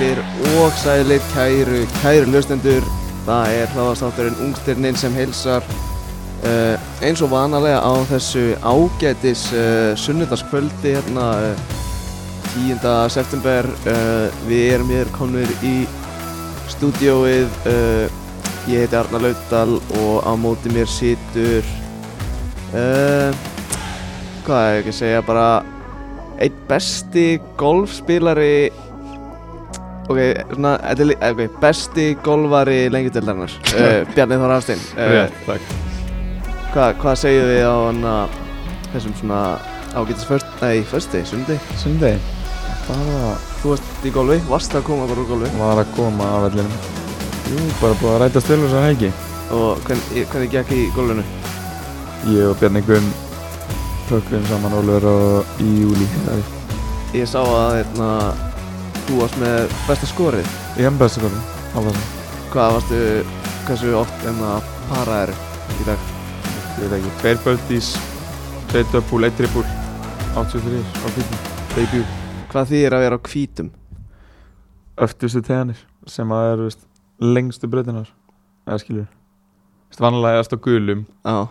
og sælir kæru, kæru hlustendur það er hláðastátturinn Ungstirnin sem heilsar uh, eins og vanalega á þessu ágætis uh, sunnudagskvöldi hérna uh, 10. september uh, við erum hér komnir í stúdióið uh, ég heiti Arnar Laudal og á móti mér situr uh, hvað er ekki að segja bara einn besti golfspilari ok, svona, þetta er lí- ok, besti golfari lengjutildarinnar uh, Bjarni Þór Hafstein uh, Rétt, takk. hvað, hvað segir þið á hana þessum svona ágætis först, nei, försti, sundi Sundi, bara þú varst í golfi, varst að koma bara úr golfi var að koma af vellinum. Jú, bara búið að ræta stölu svo helgi. og hvern, í- hvernig gekk í golfinu Ég og Bjarni Gunn tökum saman Ólfur og í júli. Það er- ég sá að hérna, þú varst með besta skorið Ég hef bestu góði, á þessu. hvað varstu, hversu oft en að para eru í dag Ég veit ekki, tveir birdies, tveir döpúl, eitt trippúl, 83 á kvítum. Debut. hvað þýðir að vera á hvítum Öftustu teganir sem að er, veist, lengstu breytinar. Eða skilur. Veist, vanlega erst á gulum á,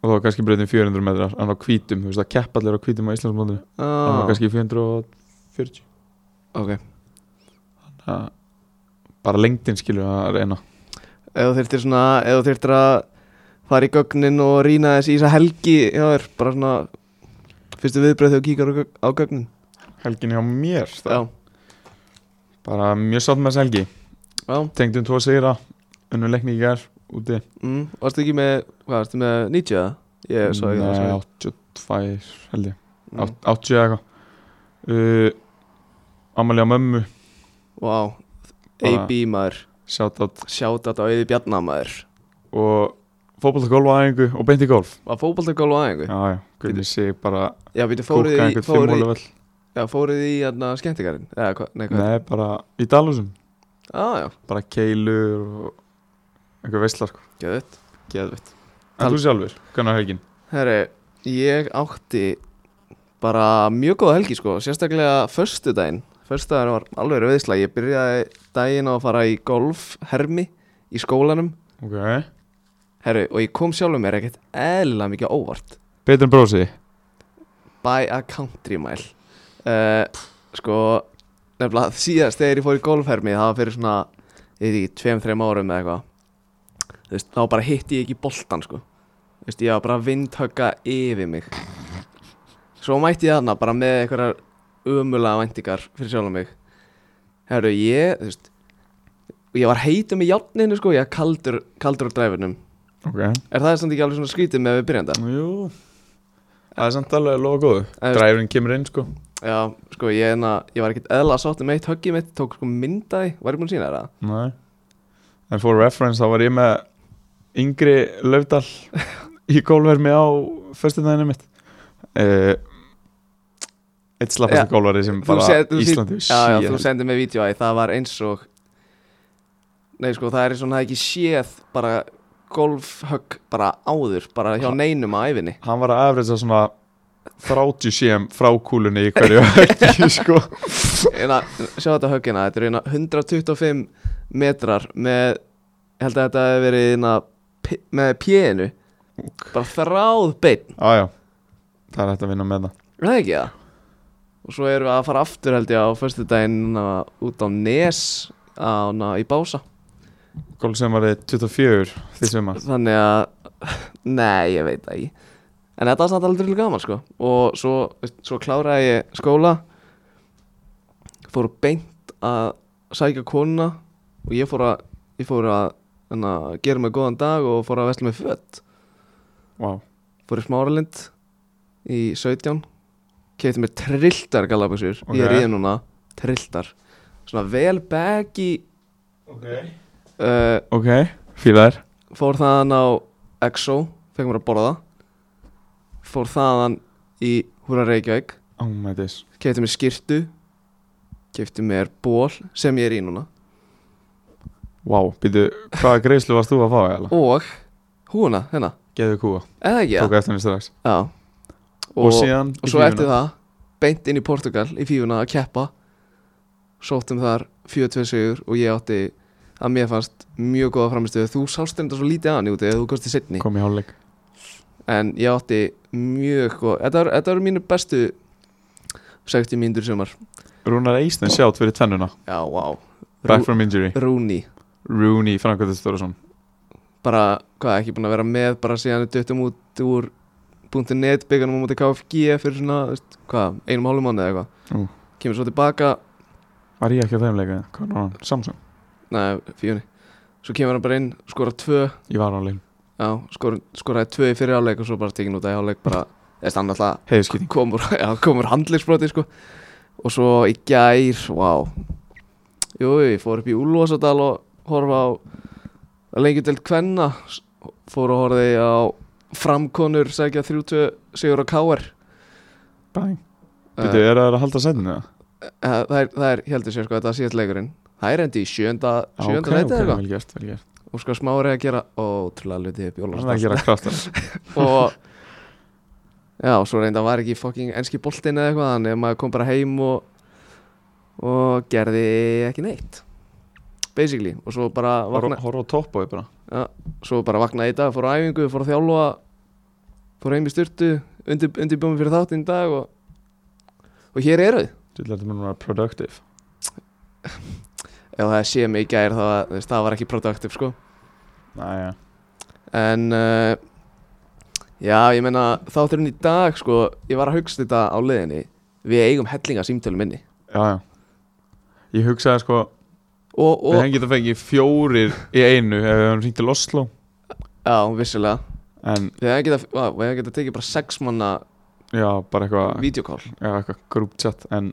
og þá kannski breytin 400 metrar, en á kvítum, þú veist, það keppa allir á kvítum á Íslandsmóndinu. Það var á, kannski 440 ok það, Bara lengdin skilur að reyna ef þú þurftir svona, ef þú þurftir að fara í gögnin og rýna þess í þessa helgi já, er bara svona fyrstu viðbröð þegar þú kíkar á gögn- á gögnin Helgin hjá mér það- já, Bara mjög sátt með þess helgi já, Tengdum tvo sigra Unnum leikni í gær úti mm, varstu ekki með hvað, varstu með 90 eða? ég svo ekki Nei, það 82 held ég mm, Átt- 80 eða eitthvað uh, Amalie á mömmu wow, Bara- AB maður Sjátt sjátt á Eyði Bjarnar maður Og fótboltagólf aðeingu Og beint í golf var fótboltagól og aðingu? Já, já Guðni sig bara já, býttu fóruð Kúka í einhvern fimm fóruð í, hólu vel já, fóruð í hérna skemmtikarinn eða hvað, nei hvað Nei, bara í dalúsum ah, já, Bara keilur og Einhver veistlar geðvitt geðvitt En Tal- þú sjálfur, hvernig á helgin? Herri, ég átti bara mjög góða helgi sko, sérstaklega föstudaginn. Föstudaginn var alveg rauðisla, ég byrjaði daginn á að fara í golfhermi í skólanum. Ok Herri, og ég kom sjálfur mér ekkert eðlilega mikið á óvart. Betur en brósi By a country mile. Uh, sko, nefnilega síðast þegar ég fór í golfhermi, það var fyrir svona, ég veit ekki, tveim, þreim árum eða eitthvað. Þú veist, þá bara hitti ég ekki boltan sko. Þú veist, ég var bara að vindhögga yfir mig. Svo mætti ég þarna bara með einhverjar ömulega væntingar fyrir sjálfum mig Herru, ég, þú veist Ég var heitum í játninu sko, ég var kaldur, kaldur á dræfinum Ok Er það samt ekki alveg svona skrítið með við byrjanda? Jú Það er samt alveg loða góðu Eh, Dræfurinn kemur inn sko Já, sko, ég, enna, ég var ekkert eðla sátt um eitt höggið mitt Tók sko myndaði, var ég búinn að sína þér það? Nei En for reference þá var ég með Yngri Laufdal Í gólvermi á Föstudaginu mitt uh, Eitt slappasta Já. gólveri sem Þú bara seg- þú sýnt- Íslandi Já, já, þú séð. sendið mér vídjói, það var eins og Nei, sko, það er eins og hann hafði ekki séð bara golfhögg bara áður, bara hjá Ha- neinum á æfinni Hann var að afreitsa svona 30 séum frá kúlunni í hverju ekki sko Eina, Hérna, sjá þetta höggina, þetta hérna eru eina 125 metrar með, ég held að þetta hefur verið eina, með pjénu, bara þráð beinn, Já, já Það er hægt að vinna með það er það ekki það? Og svo erum við að fara aftur held ég á föstudaginn á- út á Nes á, na, í Bása, Gólf sem var 24 því sem þannig að, nei, ég veit það ekki. En þetta var samt aldrei gaman sko, og svo, svo kláraði ég skóla, fór beint að sækja konuna og ég fór að, ég fór að hana, gera mig góðan dag og fór að vesla með fött Vá fór í smáralind í 17 kefti mér trilltar galabagsur ég er Ok. í þeim núna, trilltar svona vel baggy Ok uh, Ok, fílaðir fór þaðan á EXO fekk mér að borða fór þaðan í Húra Reykjavík Ámætis kefti mér skirtu kefti mér ból sem ég er í núna Vá, býtu, hvaða greiðslu varst þú að fá eða? og húna, hérna, Geðu kúa, eða ekki tók eftir henni strax já Og, og, og, síðan svo eftir það beint inn í Portugal í fífuna að keppa sóttum þar 42 sigur og ég átti að mér fannst mjög góða framistöðu þú sást enda svo lítið aðan úti eða þú kosti setni kom í hálfleik en ég átti mjög góða þetta var- þetta eru mínu bestu 60 mínútur í sumar Rúnar Eisnes sjátt fyrir tvennuna já, wow Back from injury Rúni Rooney Frankvæður Stórasson bara, hvað, ekki búin að vera með bara síðan við döttum út úr .net bygganum á móti KFG fyrir svona, veist, hvað, einum hálfum mánu eða eitthvað Ú. kemur svo tilbaka Var ég ekki á þeim leika? Hvað var hann? Samsung? Nei, fjóni Svo kemur hann bara inn, skorar tvö Ég var á leik Já, skor, skoraði tvö í fyrir áleik og svo bara tekin út að áleik bara Eða stann alltaf Heiðskýting komur, já, komur handlisbroti sko Og svo í gær, vá Jú, ég fór upp í Úlfarsadal og horfa á lengjudeld kvenna S- Fór og horfði á framkonur segja 32 sigur á KR Bæn Eh, Býtu, er það að halda sætinu það? eh, Það er, það er heldur sér sko, þetta síðan leikurinn Það er endi í sjönda, sjönda okay, ok, eða ok, eitthvað vel gert, vel gert Og sko smári að gera ótrúlega hluti upp í Það er að Úlfarsadal gera kraftar og já, svo reynda var ekki fucking enski boltinn eða eitthvað þannig að maður kom bara heim og og gerði ekki neitt basically og svo bara vakna, Horfa á topp og ég bara svo bara vaknaði í dag, fór á æfingu, fór að þjálfa fór heim í styrtu undir, undirbjómi fyrir þáttinn í dag og, og hér eru þið Þú ætlar þetta mér að vera productive ef það sé mig í gær þá þú veist, það var ekki productive sko Næja En uh, Já, ég meina þátturinn í dag sko Ég var að hugsa þetta á leiðinni Við eigum hellinga símtölum inni Já, já Ég hugsaði sko Og, Við og hefum getað fengið fjórir í einu Ef við hefum ringt til Oslo já, vissulega En Við hefum getað, vá, við hefum getað tekið bara sex manna já, bara eitthvað Vídeokall Já, eitthvað grúptjatt En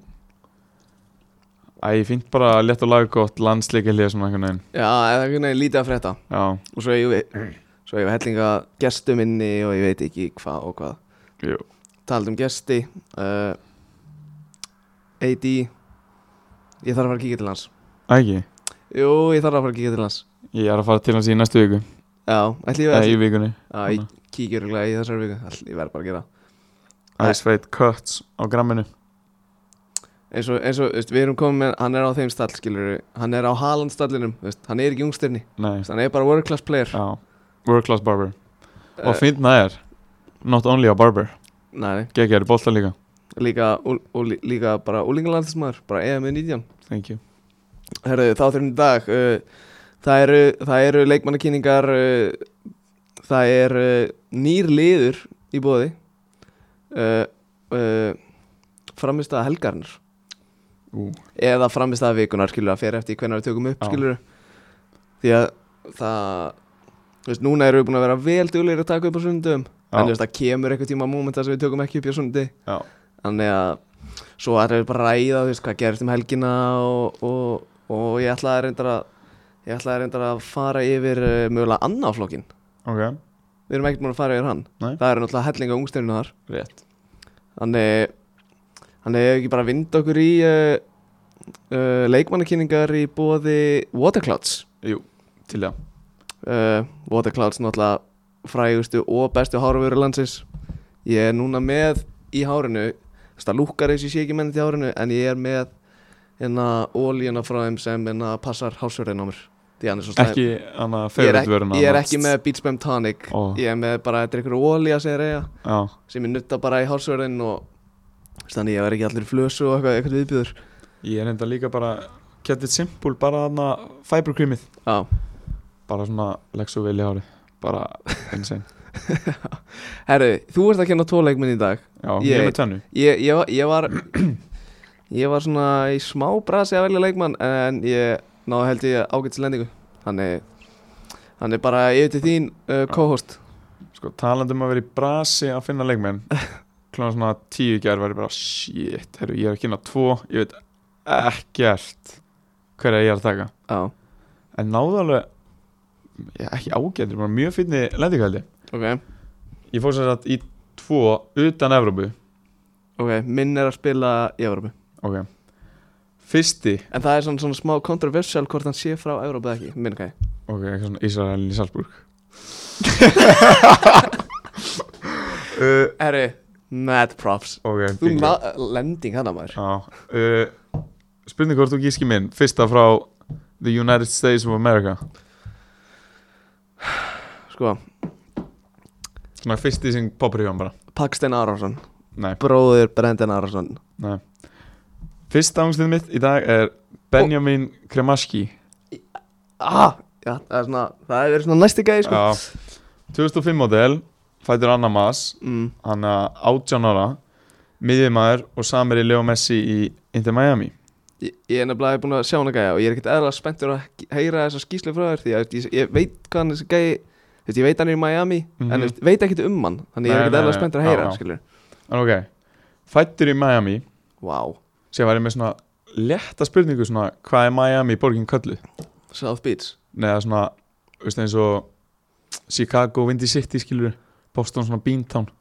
Æ, fínt bara létt og lagu gott Landsleikilið svona einhvern veginn Já, eða einhvern veginn lítið að frétta Já, Og svo eigum við Svo eigum við hellinga gestum inni Og ég veit ekki hvað og hvað jú Talað um gesti uh, AD Ég þarf að fara að kíkja til hans Æ, ekki Jú, ég þarf að fara að kíkja til hans Ég er að fara til hans í næstu viku Já, ætli ég, Eða ætli, í vikunni já, ég kíkja örugglega í þessari viku Ætli, Ég verð bara að gera það. Nei. Ice Fate Cuts á gramminu eins og, eins og veist, við erum komið með, hann er á þeim stall skilur hann er á Haaland stallinum, veist, hann er ekki ungstirni Nei, hann er bara world class player já World Class Barber Eh, Og finn það er Not only a barber nei, nei. Gekki er í bolta líka líka, og, og, lí- líka bara úlingalandsmaður, bara EM 19 Thank you Herðu, þátturinn í dag uh, það eru, það eru leikmannakynningar uh, það er uh, nýr liður í bóði uh, uh, framist að helgarnir Ú. eða framist að vikunar skilur að fyrir eftir hvernig við tökum upp Já. skilur því að það þú veist, núna erum við búin að vera vel duglegir að taka upp á sundum en þú Já, veist, það kemur einhver tíma moment þar sem við tökum ekki upp á sundi já þannig að svo ætlum við bara að ræða þú veist, hvað gerist um helgina og, og, og ég ætla að reynda að ég ætla að reynda að fara yfir uh, mögulega annaflokkin, Ok við erum ekkert búin að fara yfir hann Nei. það eru náttúrulega hellinga ungstefninu þar Rétt Þannig Þannig hefur ekki bara vind okkur í uh, uh, leikmannakynningar í bóði Waterclouds Jú, til það uh, Waterclouds náttúrulega frægustu og bestu háruvöru landsins Ég er núna með í hárinu Það lúkkar eins og ég sé ekki mennit í hárinu En ég er með hérna ólíuna frá þeim sem hérna passar hásverðin á mér Því hann er svo slæm Ekki hann að ég, er favorite ekki, veruna ég er ekki með Beach Bam Tonic Ó. Ég er með bara, þetta er ykkur ólíja segir eiga Já, sem ég nutta bara í hálsverðin og veist, þannig ég verð ekki allir í flösu og eitthvað, eitthvað viðbjöður ég er enda líka bara Get it simple, bara hann að Fiber creamið Já, Bara svona Lexo vel í hári Bara insane herru, þú ert að kenna tvo leikminn í dag Já, Ég- ég er með tennu Ég, ég, var- ég var ég var svona í smá brasi að velja leikmann en ég náðu held ég ágætis lendingu þannig hann er bara yfir til þín uh, co-host Sko, talandi um að vera í brasi að finna leikmenn Klána svona tíu í gær var ég bara Shit, herru, ég er að kynna tvo Ég veit ekkert Hverja ég er að taka Já, En náðu alveg ég, Ekki ágættur, bara mjög fínni lendingaldi ok, Ég fór sér að í tvo Utan Evrópu ok, minn er að spila í Evropu Ok Fyrsti en það er svona, svona smá kontroversial hvort hann sé frá Evropu eða ekki, minn hvað Ok, eitthvað svona Ísraelin í Salzburg uh, Herru, mad props Ok, Þú bingo. ná, lending hann að maður Já uh, spurning hvort þú gíski minn fyrsta frá The United States of America Sko, svona fyrsti sem poppar í hann bara Pakstein Arason nei, Bróðir Brendan Arason nei fyrsta ángstuð mitt í dag er Benjamin Kremaski ah, já, það, er svona, það hefur verið svona næsti gæði sko. Já. 2005 model fætur Anna Mas mm, hann er 18 ára miðjumæður og samir í Leo Messi í Inter Miami ég, ég er nefnilega búin að sjá hana gæja og ég er ekkert eðla spenntur að he- heyra þessa skýslu frá þér því að ég, ég veit hvað hann þessi gæði Þú veist, ég veit hann er í Miami Mhm. en þú veist, veit ekkert um hann þannig ég er Nei, ekkert nei, eðla nei. spenntur að heyra Já, já. skilur en ok, fættur í Miami Vá, wow. sem var ég með svona létta spurningu svona hvað er Miami borgin köllu South Beach neða svona, veist eins og Chicago, Windy City skilur Boston svona Beantown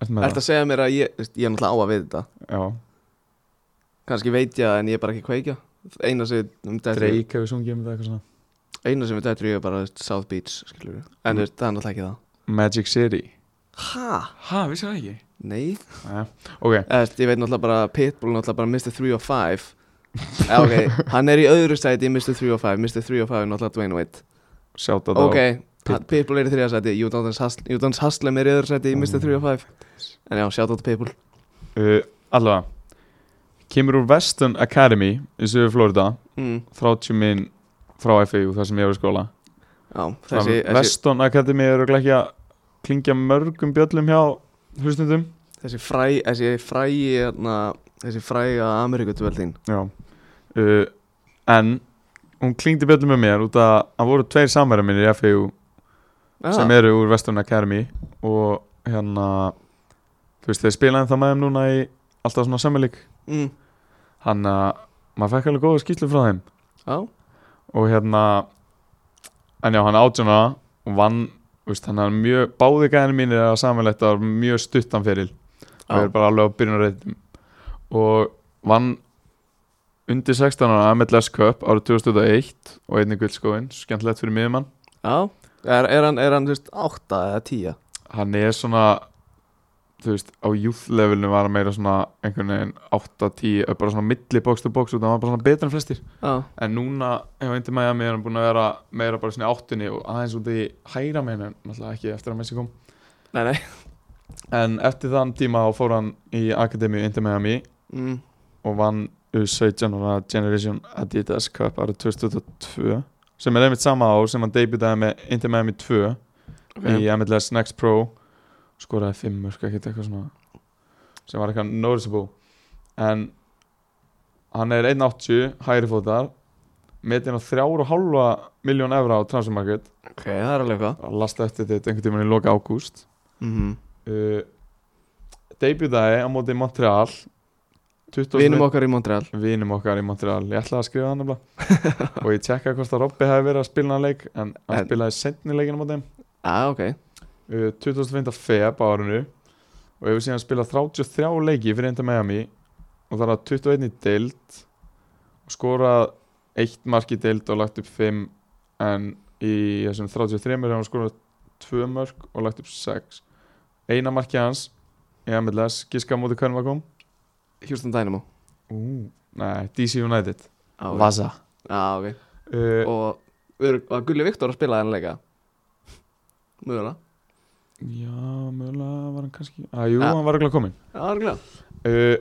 Ertu með Ertu að segja mér að ég, þú veist, ég er náttúrulega á að við þetta það? Já, kannski veit ég en ég er bara ekki að kveikja eina sem um dættur í- Drake hefur sungið um þetta eitthvað svona eina sem við dættur í er bara þú veist, South Beach skilur en Mm. mm. það er náttúrulega ekki það Magic City Hæ? Ha, vissi það ekki? Nei Næja, ok, Eða, þú veist, Ég veit náttúrulega bara að Pitbull náttúrulega bara Mr. 3 og 5 Eða, ok, hann er í öðru sæti í Mr. 3 og 5 Mr. 3 og 5 er náttúrulega Dwayne Wade sjáta það Ok, Pit- hann- Pitbull er í þrija sæti Júdóns Haslem er í öðru sæti í Mr. 3 og 5 En já, sjátt átt Pitbull uh, Allavega Kemur úr Western Academy í Suður Florida mm, 30 minn frá FAU þar sem ég er í skóla Já, þessi, þessi, þessi, Western Academy er örugglega ekki að klingja mörgum bjöllum hjá hlustundum þessi fræ Þessi fræ hérna, Þessi fræga Ameríkutvöld þín Já uh, En hún klingdi bjöllum með mér út að hann voru tveir samverðar minnir í FAU Já, sem eru úr Western Academy og hérna þú veist þeir spilaði það með þeim núna í alltaf svona semmelík mm, hann að maður fekk alveg góða skýtlu frá þeim Já, og hérna en já, hann átjónara og vann, veist, hann er mjög báði gæðin mínir að samanlegt að var mjög stuttan fyrir já, og er bara alveg á byrjunarreitum og vann undir 16 ára MLS Cup árið 2001 og einnig guldskóin, skemmtilegt fyrir miðumann já. Er, er hann, er hann, þú veist, átta eða tíja? hann er svona þú veist, á youth levelinu var hann meira svona einhvern veginn 8-10 eh, bara svona milli box to box og það var bara svona betur en flestir Já, en núna hefur Inter Miami er hann búin að vera meira bara svona í áttunni og aðeins út í hæra meina en náttúrulega ekki eftir að Messi kom nei, nei en eftir þann tíma þá fór hann í Akademíu Inter Miami mm, og vann U17 og var Generation Adidas Cup árið 2002 sem er einmitt sama ár sem hann debutaði með Inter Miami 2 okay. í MLS Next Pro skoraði fimm mörg ekkert eitthvað svona sem var eitthvað noticeable en hann er 1.80 hægri fótar metin á 3,5 miljón evra á transfermarket ok, það er alveg eitthvað lasta eftir þetta einhvern tímann í loka ágúst mm uh, debutaði á móti Montreal 20 Vinum okkar í Montreal vinum okkar í Montreal ég ætlaði að skrifa hann nefnilega og ég tjekkaði hvort að Robby hefði verið að spila hann leik en hann En- spilaði sentni leikinu móti þeim Já, ok uh, 25. feb á árinu og hefur síðan spilað 33 leiki fyrir enda Miami og þar að 21 í deild og skorað eitt mark í deild og lagt upp 5 en í þessum 33 hefur hann skorað 2 mörk og lagt upp 6 eina marki hans ég hef með les, giska á móti hvernig var kom Houston Dynamo uh. Nei, DC United Já, ok. Já, ok uh, Og örugg- var Gulli Viktor að spila þennan leika? Mögulega Já, mögulega var hann kannski ah, Jú, Ja. hann var ekki komin Já, það er glæð uh,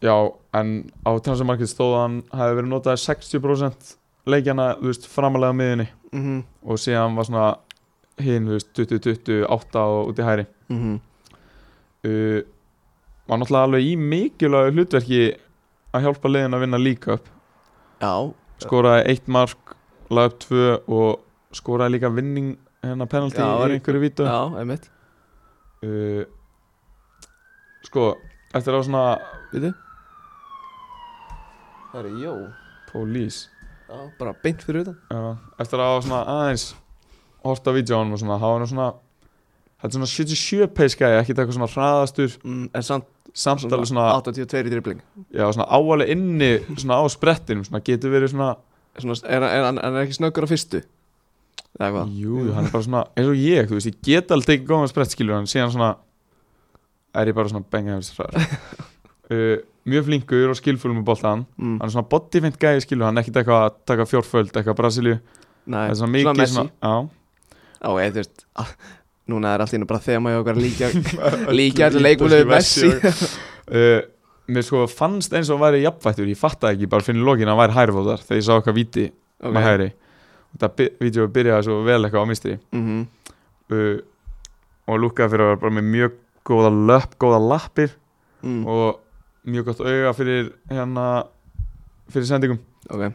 Já, en á transfermarkið stóð að hann hafi verið notaði 60% leikjana, þú veist, framalega á miðinni Mhm, og síðan var svona hinn, þú veist, 20-20, 8 og út í hæri mhm uh, var náttúrulega alveg í mikilvægu hlutverki að hjálpa liðin að vinna líka upp Já, skoraði eitt mark, lagði upp tvö og skoraði líka vinning hérna penalty Já, var- í einhverju vítu já, einmitt uh, Sko, eftir að svona Vitu Það er jó Police Já, bara beint fyrir utan Já, eftir að hafa svona aðeins hort á vídjónum og svona hafa hann svona þetta er svona 77 pace gæði, ekkert eitthvað svona hraðastur mm, En samt samt alveg svona, 82 í dribbling já, svona áalega inni svona á sprettinum, svona getur verið svona Svona, er, er, hann, hann er ekki snöggur á fyrstu Eða hvað? jú, hann er bara svona, eins og ég, þú veist ég get alveg tekið góðan sprett, skilur hann, síðan svona er ég bara svona bengið hans hraðar uh, mjög flinkur og skilfull með boltan mm. hann er svona bodyfint gæði skilu hann er ekkert eitthvað að taka fjórföld eitthvað Brasilíu Nei, það er svona mikið Messi. svona, já, Á, eða þú veist, að- núna er allt í einu bara þema hjá okkar að líka, Öllu líka allir ítalski leikmölu Messi. uh, Mér sko fannst eins og hann væri jafnvættur Ég fattaði ekki, bara finnir lokin að hann væri hærfóðar Þegar ég sá okkar viti Ok. með hægri Þetta vídeo byrjaði svo vel eitthvað á mistri Mhm. uh, Og lúkkaði fyrir að vera bara með mjög góða löpp, góða lappir Mm. Og mjög gott auga fyrir hérna Fyrir sendingum Ok,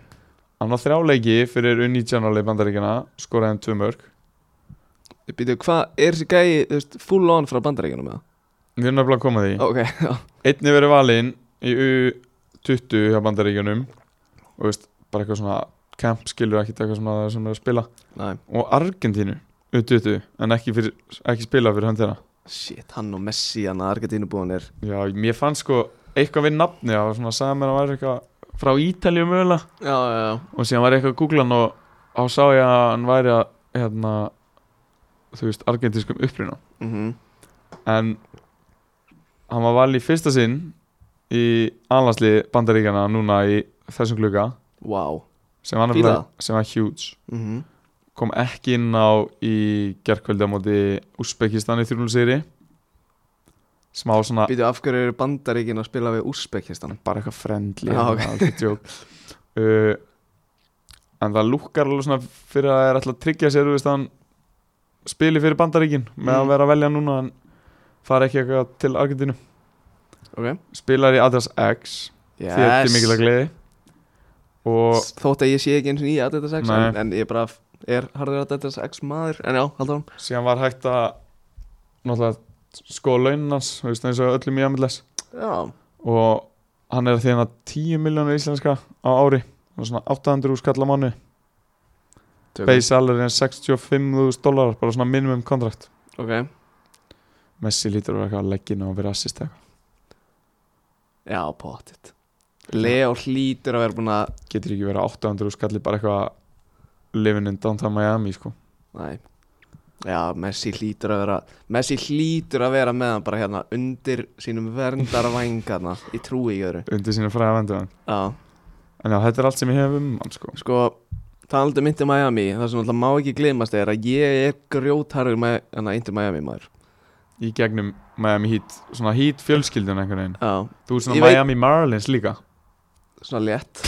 Hann á þrjáleiki fyrir unnýtjanarleik bandaríkina Skoraði hann tvö mörg býtu, hvað er þessi gæi, þú veist, full on frá bandaríkjunum eða? Við erum nefnilega að koma að því Ok, já, einni verið valinn í U20 hjá bandaríkjunum og veist, bara eitthvað svona camp skilur ekkert eitthvað svona sem er að spila næ, og Argentínu U20 en ekki, fyrir, ekki spila fyrir hönd þeirra shit, hann og Messi, hann að Argetínubúin er, já, mér fannst sko eitthvað við nafni það var svona sagði mér að væri eitthvað frá Ítalíu mögulega já, já, já, og síðan var ég eitthvað að googla hann og á sá ég að hann væri að hérna, þú veist, argentískum upprýna mhm, en hann var valinn í fyrsta sinn í anlandsli bandaríkjana núna í þessum glugga wow, sem var, Fíla nefnilega- sem var huge mhm, kom ekki inn á í gerkvöldi á móti Úsbekistan í 3-0 sigri smá svona býtu, af hverju eru bandaríkin að spila við Úsbekistan? bara eitthvað frendli Já, ok. uh, en það lúkkar alveg svona fyrir að það er alltaf að tryggja sér þú veist, að hann spili fyrir bandaríkin með Mm. að vera að velja núna en fara ekki eitthvað til Argentínu Ok, spilar í Adidas X yes. því þetta er mikil að gleði og Þótt að ég sé ekki eins og nýja Adidas X en, Nei. en ég bara f- er harður Adidas X maður En já, haldur hann síðan var hægt að náttúrulega skoða launin hans þú veist, eins og öllum í Amilles Já, og hann er að þýna 10 miljónur íslenska á ári og svona 800 úr skalla mánu tökum. base salary er 65.000 dólarar bara svona minimum kontrakt Ok, Messi lítur að vera eitthvað að leggina og vera assist eða eitthvað já, pottit Leo hlýtur að vera búin að getur ekki verið 800 úr skalli bara eitthvað living in downtown Miami sko Nei Já, Messi hlýtur að vera Messi hlýtur að vera með hann bara hérna Undir sínum verndarvængarna Í trúi í öðru undir sína fræða vendu hann Já, en já þetta er allt sem ég hef um hann sko sko Talandi myndi Miami, það sem alltaf má ekki glimast er að ég er grjótharður með hérna Inter Miami maður. í gegnum Miami Heat svona Heat fjölskyldun einhvern veginn Já, þú ert svona Ég veit- Miami Marlins líka svona létt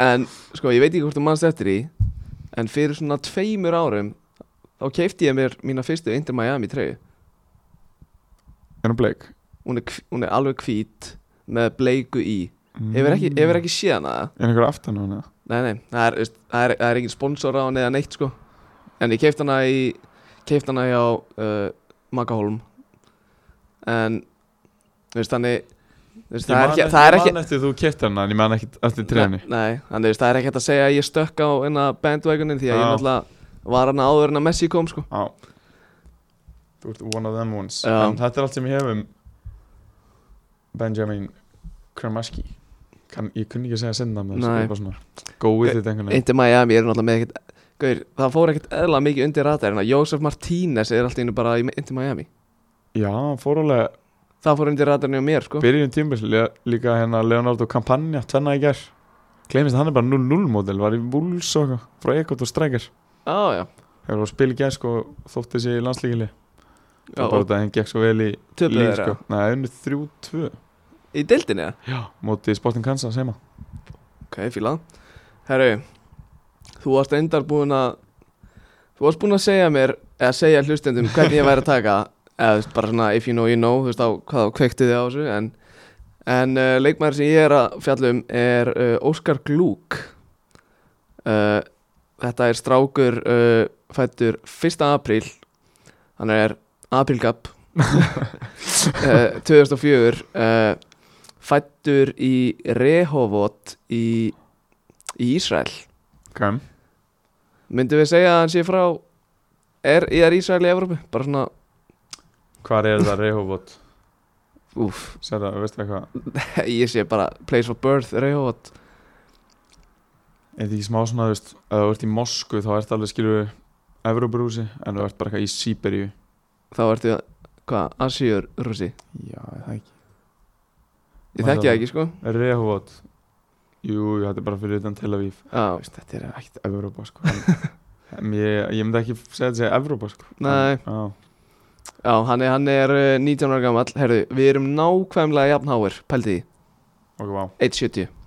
en sko ég veit ekki hvort þú mannst eftir í en fyrir svona tveimur árum þá keipti ég mér mína fyrstu Inter Miami treyju er hann bleik hún, er hv- hún er alveg hvít með bleiku í hefur ekki, hefur ekki séð hana Mm. er einhver aftan á hann eða? nei nei, það er, veist, það er, það er engin sponsor á hann eða neitt sko en ég keipti hana í keipti hana hjá uh, Magahólm en þú veist þannig þú veist, Ég það, er man ekki, eftir- það er ekki Ég man eftir þú keitt hann en ég man ekki eftir treðinni Nei, nei, þannig veist, það er ekki hægt að segja að ég stökk á enna bandwagonin því að ég Já. náttúrulega var hann áður en að Messi kom sko Já Þú ert one of them ones Já. En þetta er allt sem ég hef um Benjamin Kramaski kan, Ég kunni ekki að segja senda með Nei. þessu Go with it einhvern veginn Inter Miami eru náttúrulega með ekkert Gaur, það fór ekkert eðla mikið undir radarinn að Jósef Martínez er alltaf innu bara í Inter Miami Já, hann fór alveg Það fór undir radarinn hjá mér sko Byrjun tímbil Líka hérna Leonardo Campagna Tvenna í ger Gleimist að hann er bara 0-0 módel Var í Wolves og eitthvað Frá Ekot og Strækir Á já, Þegar var að spila í ger sko Þótti sig í landslíkili já Það var bara og þetta Hann gekk svo vel í töpuðu líf þeirra sko Nei, unni 3-2 Í deildinni eða? Já Móti Sporting Kansas heima Ok, fílað Herru, þú varst endar búin að Þú varst búin að segja mér eða segja hlustendum hvernig ég væri að taka eða þú veist, bara svona if you know you know þú veist á hvað þá kveikti þið á þessu en, en uh, leikmæður sem ég er að fjalla um er uh, Óskar Glúk uh, Þetta er strákur uh, fættur 1. apríl hann er aprílgapp uh, 2004 uh, fættur í Rehovot í, í Ísrael Ok myndum við segja að hann sé frá er, er Ísrael í Evrópu bara svona, Hvar er það Rehovot? úff Særa, veistu eitthvað? ég sé bara place of birth Rehovot Er þetta ekki smá svona, þú veist, ef þú ert í Moskvu þá ert alveg skilur Evróbrúsi en þú ert bara eitthvað í Sýberíu þá ertu, hvað, Asíur rúsi Já, er það ekki Ég þekki það ekki sko Rehovot Jú, jú, þetta er bara fyrir utan Tel Aviv Já, Veist, Þetta er ekkert Evrópa sko En ég, ég myndi ekki segja þetta segja Evrópa sko Nei. Já, já hann, er, hann er eh, 19 ára gammal Herðu, við erum nákvæmlega jafnháir Pældi því, ok, vá 1.70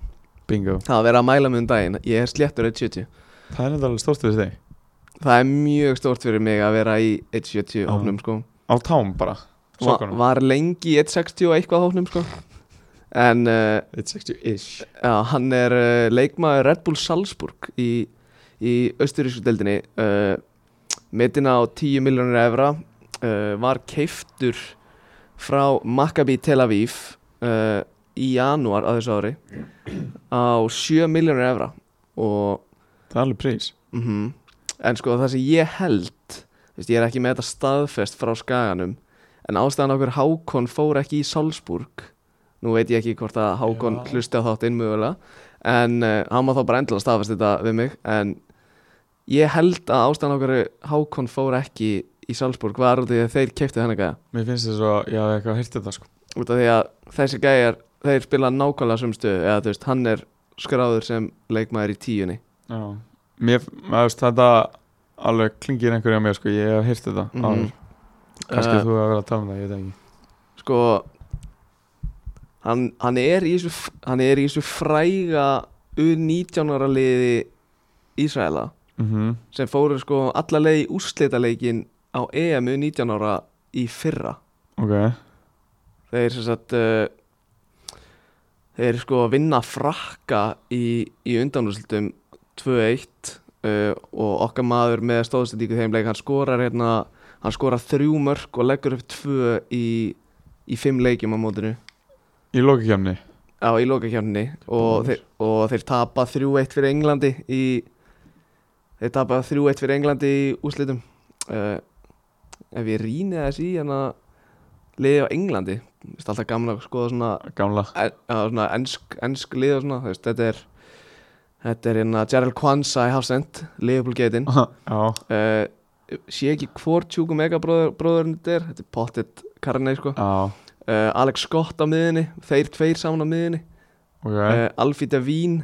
Bingo Það var verið að mæla mig um daginn Ég er sléttur 1.70 Það er þetta alveg stórt fyrir þig Það er mjög stórt fyrir mig að vera í 1.70 Já. hóknum sko Á tám bara Va Sokkanum Var lengi í 1.60 og eitthvað hóknum sko En uh, 160-ish Já, hann er uh, leikmaður Red Bull Salzburg í, í austurísku deildinni uh, metin á 10 miljónir evra uh, var keiftur frá Maccabi Tel Aviv uh, í janúar á þessu ári á 7 miljónir evra og Það er alveg prís mm en sko það sem ég held þú veist, ég er ekki með þetta staðfest frá skaganum en ástæðan okkur Hákon fór ekki í Salzburg nú veit ég ekki hvort að Hákon Já. hlusti á þáttinn mögulega en uh, hann má þá bara endilega staðfest þetta við mig en ég held að ástæðan okkur Hákon fór ekki í Salzburg var út af því að þeir keiptu þennan gæja Mér finnst þess að ég hafði eitthvað heyrt þetta sko út af því að þessi gæjar þeir spila nákvæmlega sumstu eða þú veist hann er skráður sem leikmaður í tíunni Já Mér, maður veist, þetta alveg klingir einhverja mér sko Ég hef heyrt þetta Mhm. áður Kannski Eh, þú hefur verið að tala um það, ég veit það ekki sko hann, hann er í þessu hann er í þessu fræga U19 ára liði Ísraela mm sem fóru sko alla leið í úrslitaleikin á E EM U19 ára í fyrra Ok þeir sem sagt uh, þeir sko vinna frakka í, í undanúrslutum 2-1 uh, og okkar maður með stóðsendíku þeim leik hann skorar hérna hann skorar þrjú mörk og leggur upp tvö í, í fimm leikjum á mótinu Í lokakefni Já, í lokakjörninni og, Báðir. þeir- og þeir tapa 3-1 fyrir Englandi í þeir tapa 3-1 fyrir Englandi í úslitum uh, ef ég rýni þess í hérna liði á Englandi Mér finnst alltaf gaman að skoða svona, Gamla en, að, svona ensk, ensk liði og svona þú veist, þetta er þetta er hérna Gerald Kwanza í Hafsend Ah. liðbúlgeitin Já uh, sé ekki hvort tjúku megabróðurinn þetta er, þetta er pottet karnei sko Já uh, Alex Scott á miðinni, þeir tveir saman á miðinni Ok uh, Alfie Davín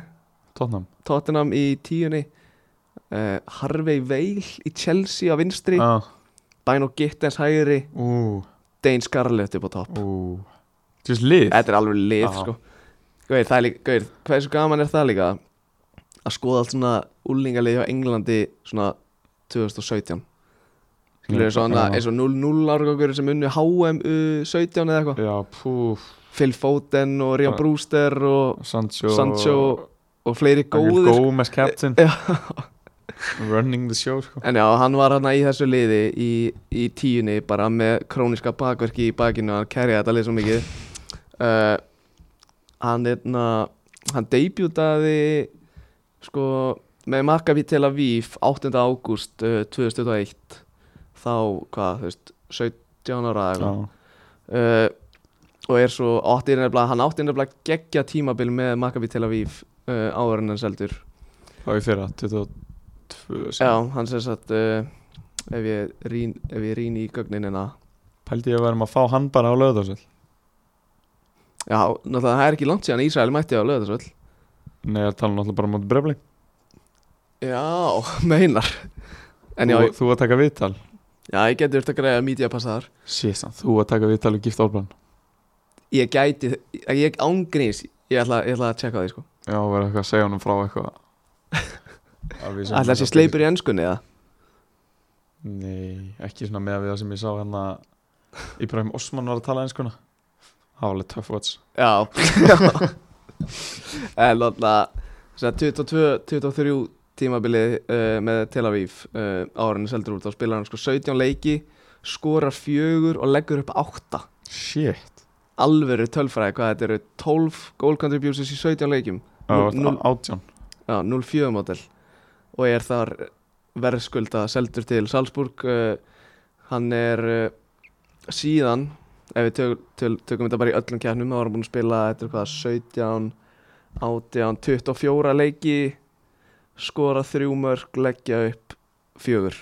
Tottenham Tottenham í tíunni uh, Harvey Veil í Chelsea á vinstri Já Dino Gittens hægri Ah, Ú Dane Scarlett upp á topp Ú Þú veist lið Þetta er alveg lið Já. sko Gauir, það er líka, gauir, hversu gaman er það líka að skoða allt svona úlingalið hjá Englandi svona 2017 Skilur þau svona Já. eins og 0-0 árgangur sem unnu HM uh, 17 eða eitthvað Já, púf Phil Foden og Rian Já. Brewster og, Sancho Sancho sko. og fleiri Góður góðir Gómez captain Já. Running the show sko. En já, hann var hann í þessu liði í, í tíunni bara með króniska bakverki í bakinu hann kerjaði þetta lið svo mikið uh, Hann einna hann debutaði sko með Maccabi Tel Aviv 8. ágúst uh, 2021 þá hvað, þú veist 17 ára eða Já, eitthvað uh, og er svo átti nefnilega, hann átti nefnilega geggja tímabil með Maccabi Tel Aviv uh, áður en hann seldur þá í fyrra 22 sem- Já, hann sem sagt uh, ef ég rýn- ef ég rýn í gögninina Pældi ég að verðum að fá hann bara á löðarsöld Já, náttúrulega það er ekki langt síðan Ísrael mætti á lögðarsvöld Nei, ég er að tala náttúrulega bara mot brefling Já, meinar En já, þú, ég- þú að taka viðtal já ég geti þurft að greiða mídíapassaðar Síðan, þú að taka viðtal og gift álbrann Ég gæti, ég ángrís Ég ætla, ég ætla að tjekka á því sko Já, verður eitthvað að segja honum frá eitthvað Að við hérna sem- Ætla að sé sleipur í ennskunni eða Nei, ekki svona með að við það sem ég sá hérna Íbrahim Osman var að tala einskona Það var alveg tough watch Já En náttúrulega sem sagt, 22, 23 tímabilið uh, með Tel Aviv uh, árinu seldur út, þá spilar hann sko 17 leiki skorar fjögur og leggur upp 8 Shit alvöru tölfræði hvað þetta eru 12 goal contributions í 17 leikjum Það Nú- var nú- átján já, 0-4 model og er þar verðskulda seldur til Salzburg uh, hann er uh, síðan ef við tök, töl, tökum þetta bara í öllum kjarnum þá var hann búin að spila þetta er hvað 17, 18, 24 leiki skora þrjú mörg, leggja upp fjögur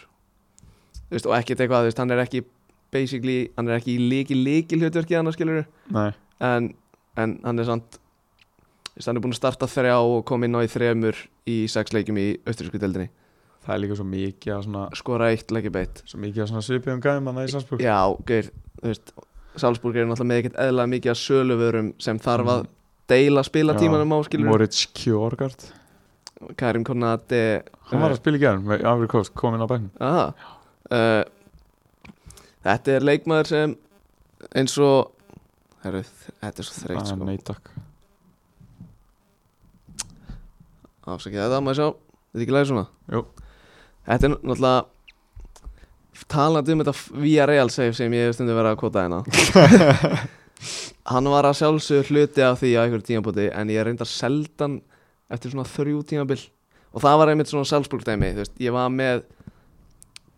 Þú veist, og ekkert eitthvað, þú veist, hann er ekki basically, hann er ekki í líki líki hlutverki hann að skilur Nei, en en hann er samt þess að hann er búin að starta þrjá og kom inn á í þremur í sex leikjum í austrísku deildinni það er líka svo mikið af svona, skora eitt leikja beitt svo mikið af svona svipum gæðum að í Salzburg já, gauð, þú veist Salzburg er náttúrulega með ekkert eðla mikið að söluvörum sem þarf að deila spilatímanum á skilur Moritz Kjórgard Karim Konate hann var að spila í gerðum með Afrið Kost komin á bæknum Aha. Uh, þetta er leikmaður sem eins og heru, þetta er svo þreytt ah, sko. nei takk afsakið þetta, maður sjá þetta er ekki lægir svona Jú. þetta er náttúrulega talandi um þetta via real save sem ég hef stundum verið að kota hérna hann var að sjálfsögur hluti af því á einhverjum tímabóti en ég reyndar seldan eftir svona þrjú tímabil og það var einmitt svona Salzburg dæmi þú veist, ég var með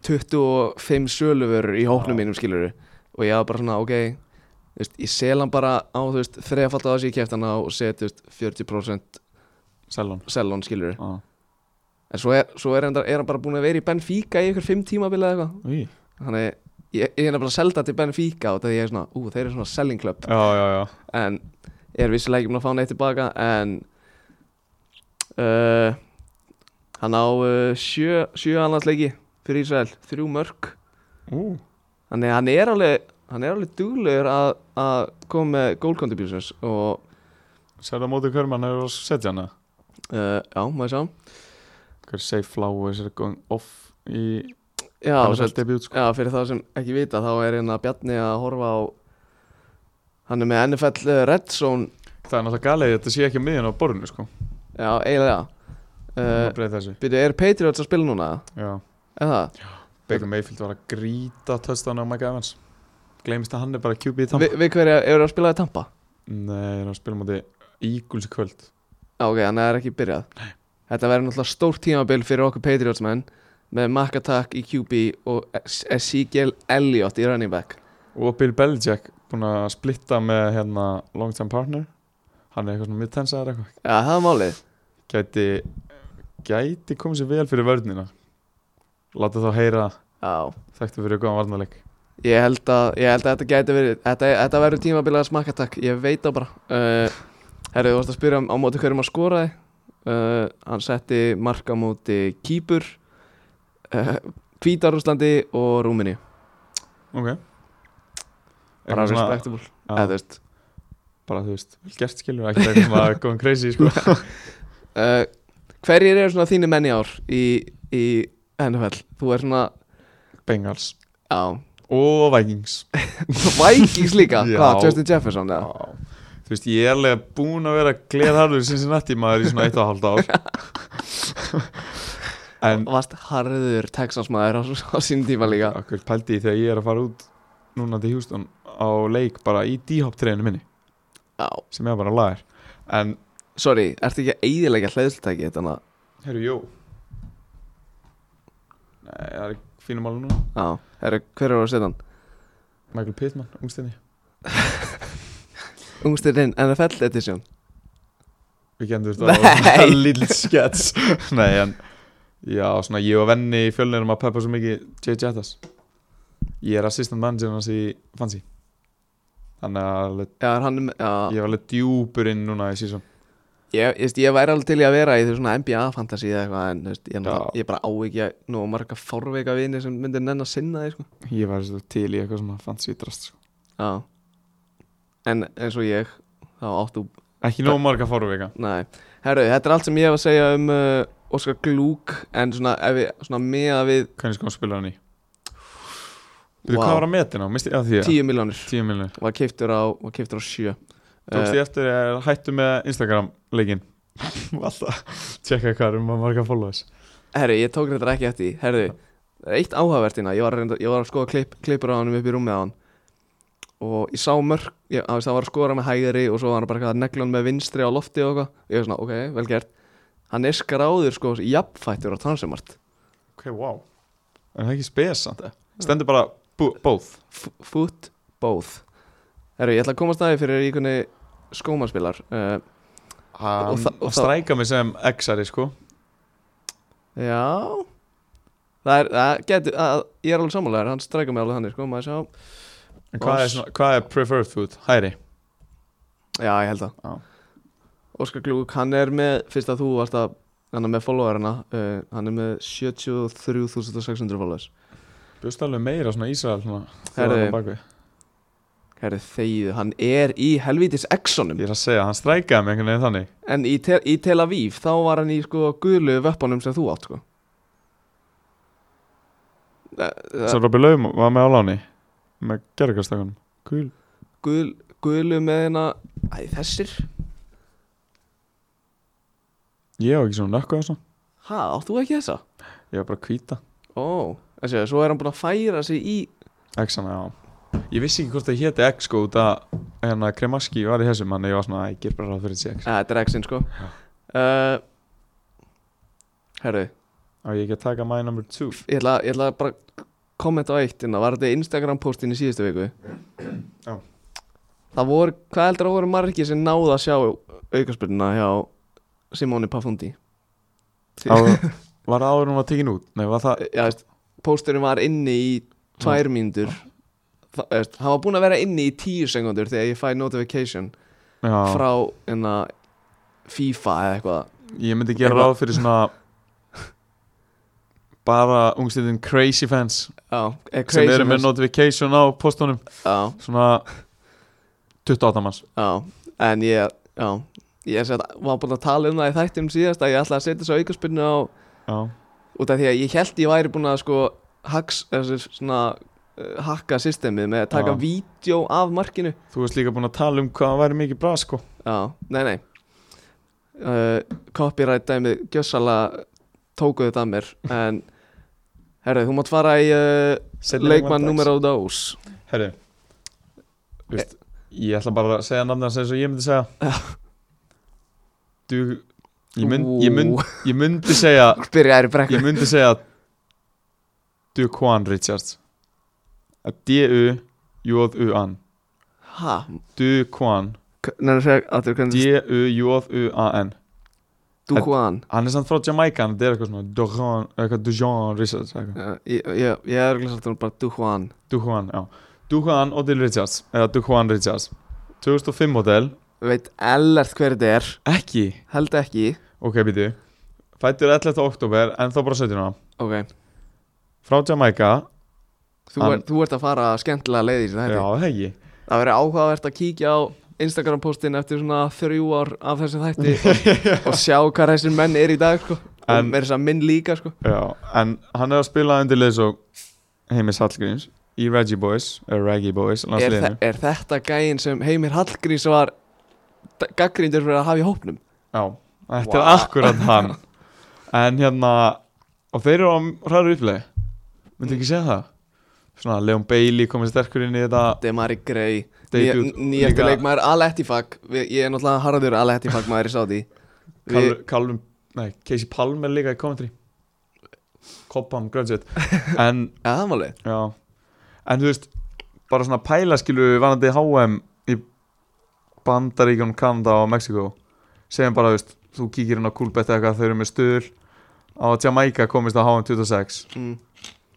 25 söluvörur í hóknum mínum skiluru og ég var bara svona ok þú veist, ég sel hann bara á þú veist, þrefald á þessi ég kæft hann á og set þú veist, 40% Selon selon skiluru ah. En svo er, svo er, enda, er hann bara búin að vera í Benfica í ykkur fimm tímabili eða eitthvað Í. Þannig ég, ég er bara að selda til Benfica og það er svona, ú, þeir eru svona selling club já já já En ég er vissilega ekki búin að fá neitt tilbaka En uh, Hann á uh, sjö, sjö annarsleiki fyrir Ísrael, þrjú mörg Ú, Þannig að hann er alveg, hann er alveg duglegur að, að koma með goal contributions Og sérðu á móti hver mann hefur að setja hana uh, já, maður sjá hver safe flowers er going off í Já, svo NFL debut sko Já, fyrir þá sem ekki vita þá er hérna Bjarni að horfa á hann er með NFL eh, Red Zone það er náttúrulega galið að þetta sé ekki á miðjan á borðinu sko já, eiginlega uh, uh, breyð þessu Byrju, er Patriots að spila núna? já Er það? Baker Mayfield var að gríta töðstana á Mike Evans gleymist að hann er bara QB í Vi, tamp við hverja eru að spila í Tampa? nei, hann spila múti Eagles í kvöld Já, ok, þannig að það er ekki byrjað Nei. Þetta verður náttúrulega stórt tímabil fyrir okkur Patriots menn með Mack Attack í QB og Es- Ezekiel Elliott í running back og Bill Belichick búinn að splitta með hérna long time partner hann er eitthvað svona mittensæðar eitthvað Já, það er málið gæti gæti komið sér vel fyrir vörnina láta þá heyra Já, þekktu fyrir góðan varnarleik Ég held að, ég held að þetta gæti verið Þetta, þetta verður tímabilaða smakkatak Ég veit það bara uh, Herru, þú varst að spyrja um, á móti hverjum að skoraði uh, Hann setti marka móti Kýpur uh, Hvítarúslandi og Rúmini ok Bara Eitthvað svona- respectable Já, eða þú veist bara þú veist, vel gert skilur ekki eitthvað sem að góðan crazy sko uh, Hverjir eru svona þínir menn í ár í, í NFL? Þú er svona, Bengals já og Vikings Vikings líka, Já. hvað, Justin Jefferson eða? Já. Þú veist, ég er alveg búinn að vera gleðharður Cincinnati maður í svona eitt og halvt ár En Vast harður Texas maður á, á sín tíma líka okkur pældi ég þegar ég er að fara út núna til Houston á leik bara í D-hop treinu minni Já, sem ég bara lagar En, sorry, ertu ekki að eiðilega hlæðslutæki þetta herru, jú Nei, það er fínum alveg núna Já, herru, hver er að setja hann? Michael Pittman, ungstinni Ungstirinn NFL edition Við gendur Nei. þetta á lill skets Nei, en Já, svona ég og venni í fjölnirum að peppa svo mikið Jay Jettas Ég er assistant manager hans í Fancy Þannig að alveg- Já, er hann með- já, ég var alveg djúpur inn núna í sísón ég, ég, ég væri alveg til í að vera í því svona NBA fantasy eða eitthvað en þú veist, ég, er náttúrulega- Já. ég bara á ekki að nú marga fárveika vini sem myndir nenn að sinna því sko. Ég var svo til í eitthvað svona Fancy drast sko. Já En eins og ég, þá áttu Ekki nóg marga fóruvika Nei, herru, þetta er allt sem ég hef að segja um uh, Oscar Glúk en svona, ef við, svona meða við Hvernig sko hann spila hann í Veitu Vá. hvað var að metin á? Misti, já, því, 10 milljónir 10 miljonir var keiftur á, var keiftur á 7 Eh. Tókst ég eftir að hættu með Instagram leikinn Alltaf Tjekka hvað er um að marga followers Herru, ég tók þetta ekki eftir því. Herru, það er eitt áhugavertina Ég var, að reynda, ég var að skoða klipp, klippur á hann upp í rúmið á hann Og ég sá mörg ég, að Það var að skora með hægri Og svo var hann bara að negla hann með vinstri á lofti og eitthvað Ég var svona, ok, vel gert Hann er skráður sko, jafnfættur á transumart Ok, wow En það er ekki spes samt eða? Stendur bara bú- both Foot, both Herru, ég ætla að koma staði fyrir í hvernig skómaspilar uh, Hann Og það- og hann það- strækar mig sem X-ari sko Já Það er, það getur, að, ég er alveg sammálaður Hann strækja mig alveg þannig, sko, maður sjá En hvað er, Oss. svona, hvað er preferred food? Hæri Já, ég held Já. það Óskar Glúk, hann er með Fyrst að þú varst að Hann er með followerina uh, Hann er með 73.600 followers Bjóst alveg meira svona Ísrael svona Herðu. þjóðan á bakvið. Herri þegið, hann er í helvítis exonum Ég er að segja, hann strækaði mig einhvern veginn þannig En í, te í Tel Aviv Þá var hann í sko guðlu vöppunum sem þú átt sko Svo Robby Laum var með á láni með gerðarkastakunum Kul Guðl, Guðlu með hérna Æ, þessir Ég var ekki svona nökku þess að Ha, átt þú ekki þessa? Ég var bara að kvíta Ó, þessi, svo er hann búin að færa sig í X-ana, já Ég vissi ekki hvort það héti X sko út að hérna Kremaski var í þessum Þannig ég var svona, "Æ, ég ger bara ráð fyrir þessi X Æ, Þetta er exin sko uh, Herri Og ég ekki að taka my number two ég ætla, ég ætla bara að kommenta á eitt innan, var þetta Instagram postin í síðustu viku Já. það voru, hvað heldur að voru margir sem náðu að sjá aukaspilna hjá Simóni Pafundi Á, Var það áður hún var tekin út? Nei, var það já, veist, posturinn var inni í tvær mínútur Þa, veist, hann var búinn að vera inni í tíu sekundur þegar ég fæ notification Já, frá enna FIFA eða eitthvað ég myndi gera Eitthvað. ráð fyrir svona Bara ungstæðin crazy fans já, eh, Sem crazy eru með fans. notification á postunum já, Svona 28 manns Já, en ég já, ég set, var búin að tala um það í þættum síðast að ég ætlaði að setja þessu aukaspinnu á Já, út af því að ég held ég væri búin að sko haks, þessi, svona, uh, hakka systemið með að taka Já. vídjó af markinu þú veist líka búin að tala um hvað það væri mikið bra sko Já, nei, nei uh, Copyright dæmið gjössala tókuðu þetta að mér en herru, þú mátt fara í uh, leikmann numero dos Herri veist, Ég ætla bara að segja nafnir hans eins og ég myndi segja Du Ég, mynd, ég, mynd, ég myndi segja Byrjaði í brekku Ég myndi segja Duquan Richards Að D-U-J-U-An Hæ, Duquan nefnir að segja að þú hvernig D-U-J-U-A-N Dukuan Hann er samt frá Jamaica en Þetta er eitthvað svona Duquan Eitthvað Dujon Richards eitthvað. Já, ég, ég, ég er ekki sagt um bara Duhuan Duquan, já Duquan Odil Richards Eða Duquan Richards 2005 model Veit ellert hver þetta er Ekki Held ekki Ok, býtu Fættur 11. oktober, en þá bara 17 ára Ok Frá Jamaica Þú, Hann- er, þú ert að fara skemmtilega leið í þessu Já, þætti hegi Það verður áhugavert að kíkja á Instagram postin eftir svona þrjú ár af þessu þætti og, og sjá hvað þessir menn er í dag sko. En- og er þess að minn líka sko. Já, en hann er að spila undir leið svo Heimis Hallgríms Í Reggie Boys, eða Reggie Boys er, þe landsliðinu er þetta gæin sem Heimir Hallgrís var gaggrindur fyrir að hafa í hópnum Já, þetta er Vá. akkurat hann En hérna Og þeir eru á hræður upplegi Myndi ekki segja það Svona, Leon Bailey komið sterkur inn í þetta Demari Grey Debut nýjastu líka. leikmaður Alettifag ég er náttúrulega harður Alettifag maður í sáti Kal- Calvin, nei, Casey Palmer líka í Coventry Cobham graduate En Ja, það var leið Já En þú veist Bara svona pæla skilu Vanandi HM Í Bandaríkjum, Kanada og Mexiko Segjum bara þú veist Þú kíkir inn á Coolbet eða eitthvað Þau eru með stöðl Á að Jamaica komist á HM 26 mm.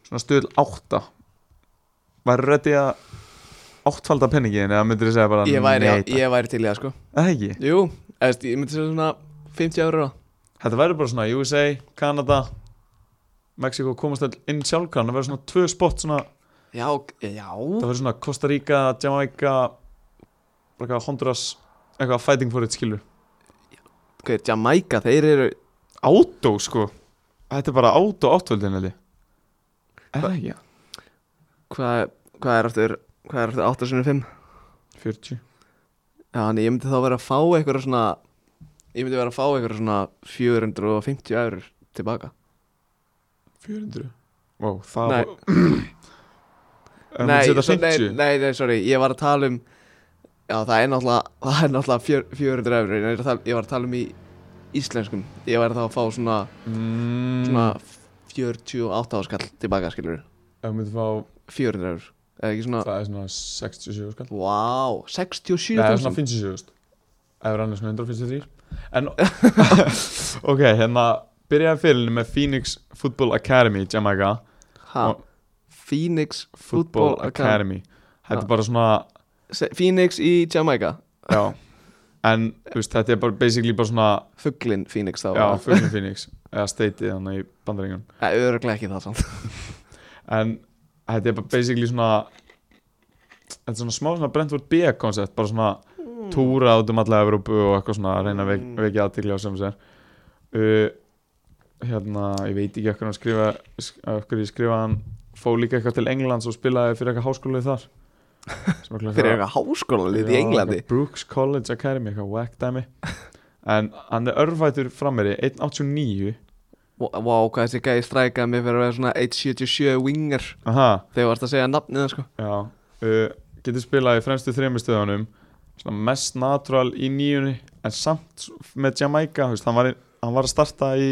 Svona stöðl 8 Væri reddi að Áttfalda penningin Eða myndir þið segja bara ég, væri, nei, takk? ég væri til í það sko Eða ekki Jú, eðst, ég myndi segja svona 50 eurur á Þetta verður bara svona USA, Kanada Mexiko komast all inn sjálfkran Það verður svona tvö spott svona Já, já það verður svona Costa Rica, Jamaica bara eitthvað Honduras eitthvað fighting for it skilur Hver, Jamaica, þeir eru átó sko þetta er bara átó áttvöldin held ég er það ekki? Hvað hva er aftur, hvað er aftur 8 sinni 5 40 Já, en ég myndi þá vera að fá eitthvað svona Ég myndi vera að fá eitthvað svona 450 eurur tilbaka 400 wow, það Nei. var nei, svo- nei, nei, nei, nei, nei, sorry, ég var að tala um Já, það er náttúrulega, það er náttúrulega fjör- 400 eurur Ég er að tala- ég var að tala um í íslenskum Ég væri þá að fá svona, Mm, svona 48 áskall tilbaka, skilur ef við myndum fá 400 eurur Eða ekki svona það er svona 67 skall Vá, wow, 67 sko. nei, það er svona 57 skall ef við rannum svona 153 en ok, hérna byrjaði fyrirlinu með Phoenix Football Academy í Jamaica ha, og- Phoenix Football Academy Þetta er bara svona Se- Phoenix í Jamaica já, en þú veist, þetta er bara basically bara svona Fugglin Phoenix þá já, fullum Phoenix eða Stateið hann í bandarengun Öruglega ekki það samt en þetta er bara basically svona þetta er svona smá svona Brentford B-koncept bara svona túra út um alla Evrópu og eitthvað svona að reyna að vek, Mm. vekja aðtikli á sem sér uh, hérna, ég veit ekki okkur hann skrifa sk- af hverju ég skrifa hann fó líka eitthvað til Englands og spilaði fyrir eitthvað háskólið þar Sem er Fyrir eitthvað háskólalið í Já, Englandi eitthvað Brooks College Academy, eitthvað whack dæmi en hann er örfætur frammeri 1.89 Vá, vá, hvað þessi gæði strækaði mig fyrir að vera svona 177 winger aha, Þegar þú varst að segja nafnið það sko já uh, getur spilað í fremstu þremur stöðunum svona mest natural í nýjunni en samt með Jamaica þú veist, hann, var í, hann var að starta í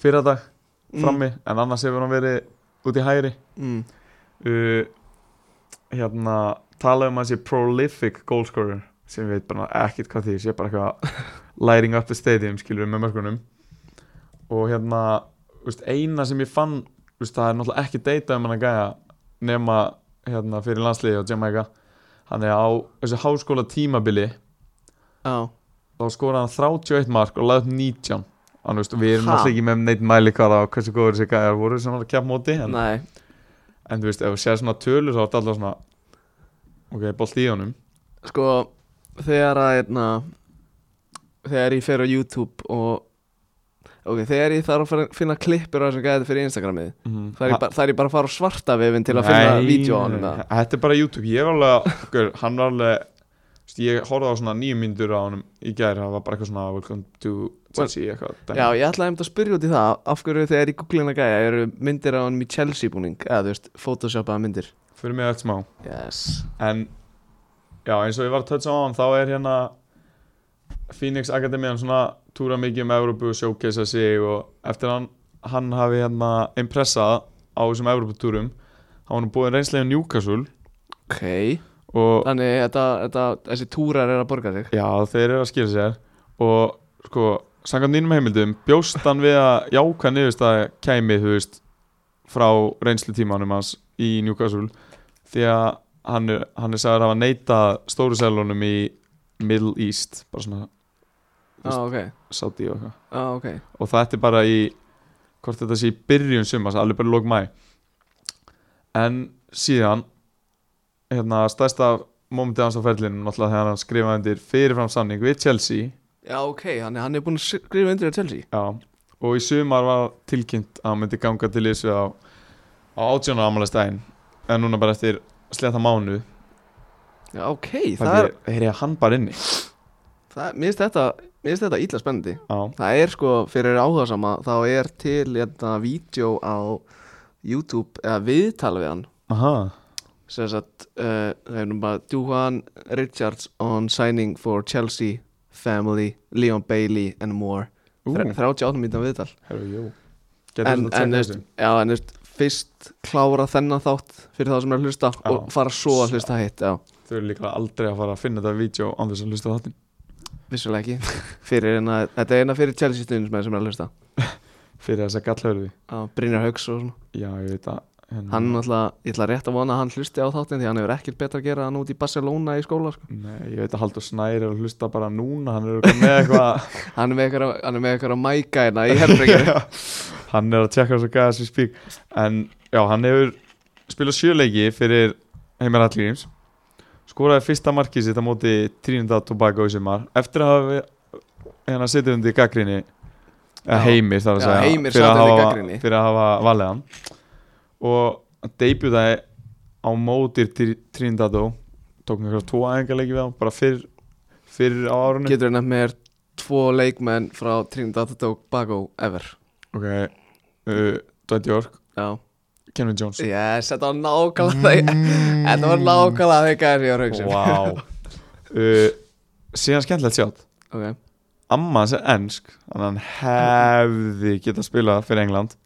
fyrradag frammi en annars hefur hann verið út í hægri mm. uh, hérna tala um að hann sé prolific goalscorer sem ég veit bara ekkert hvað því sé bara eitthvað lighting up the stadium skilur við með mörkunum og hérna þú veist, eina sem ég fann þú veist, það er náttúrulega ekki deyta um hann að gæja nema hérna fyrir landsliði og Jamaica hann er á þessu háskóla tímabili Á, þá skoraði hann 31 mark og laði upp 19 Þannig, þú veist, við erum Ha? náttúrulega ekki með neitt mælikara á hversu góður þessi gæjar voru sem hann er að kjappa móti en nei En þú veist, ef þú sér svona tölur þá er alltaf svona Ok, bolt í honum Sko, þegar að einna, Þegar ég fer á YouTube og Ok, þegar ég þarf að fara- finna klippur á þessum gæði fyrir Instagramið mm. Það er ég bara, það er ég bara að fara á svarta vefin til að finna vídeo á honum eða? Þetta er bara YouTube, ég er alveg okkur, Hann var alveg þú veist, Ég horfði á svona nýju myndur á honum í gær Það var bara eitthvað svona Welcome to Chelsea eitthvað dæmi. Já, ég ætlaði einmitt að spyrja út í það Af hverju þegar ég googla hann að gæja eru myndir á honum í Chelsea búning Eða þú veist, photoshopaða myndir Fyrir mig öll smá Yes En já, eins og ég var að toucha á hann Þá er hérna Phoenix Academy Hann svona túra mikið um Evrópu og sjókesa sig Og eftir hann Hann hafi hérna impressað á þessum Evróputúrum Hann var nú búin reynslega í Newcastle Ok og Þannig, þetta, þetta, þessi túrar er að borga sig já, þeir eru að skila sér og sko, samkvæmt nýnum heimildum bjóst hann við að jáka niðurst að kæmi, þú veist frá reynslu tímanum hans í Newcastle því að hann er, hann er sagður að hafa neita stóru selunum í Middle East bara svona Á, Ah, ok Saudi og eitthvað Á, ok og þetta er bara í hvort þetta sé í byrjun sumars, alveg bara lók mæ en síðan hérna stærsta mómentið hans á ferlinum náttúrulega þegar hann skrifaði undir fyrirfram samning við Chelsea Já, ok, hann, er- hann er búin að skrifa undir að Chelsea já, og í sumar var tilkynnt að hann myndi ganga til þessu á, á 18. ámælastæðin en núna bara eftir sletta mánu Já, ok, það er, þannig er ég hann bara inni það, mér finnst þetta, mér finnst þetta ítla spennandi já, Það er sko, fyrir áhugasama, þá er til þetta vídeo á YouTube eða viðtal við hann aha, sem sagt, uh, það er nú bara Duhan Richards on signing for Chelsea, family, Leon Bailey and more ú, Þre- 38 mínútur viðtal herru, jú en, getur þetta en, að þú tjekka veist, þessu já, en þú veist, fyrst klára þennan þátt fyrir þá sem er að hlusta Já. og fara svo að hlusta hitt já, þau eru líklega aldrei að fara að finna þetta vídeo án þess að hlusta á þáttinn vissulega ekki fyrir hérna, þetta er eina fyrir Chelsea stundin sem er að hlusta fyrir þess að gallhörfi á Brynjar Hauks og svona já, ég veit að hérna, hann náttúrulega, ég ætla rétt að vona að hann hlusti á þáttin því hann hefur ekkert betra að gera hann út í Barcelona í skóla sko. nei, ég veit að Haldur Snær er að hlusta bara núna hann er örugglega með eitthvað hann er með eitthvað, hann er með eitthvað að mæka hérna í herrbygginu hann er að tjekka þess að gæða þessi spík en já, hann hefur spilað sjöleiki fyrir heimir Hallgríms skoraði fyrsta markið sitt á móti Trinidad Tobago í sumar eftir að hafa hérna setið undir gaggrinni eða Já. heimir þar að Já, segja Heimir fyrir, sat að undir hafa, gagnrýni. fyrir að hafa valið hann og hann debutaði á mótir Trinidad og tók mér eitthvað tvo æfingarleiki við hann bara fyrr, fyrr á árunni getur hann með tvo leikmenn frá Trinidad og Tobago ever ok, uh, Dwight York já, Kevin Jones yes, þetta var nákvæmlega mm. um þetta var nákvæmlega þegar ég var að hugsa um. Vá uh, Síðan skemmtilegt sjátt ok, Amma hans er ennsk Þannig að hann hefði getað spilað fyrir England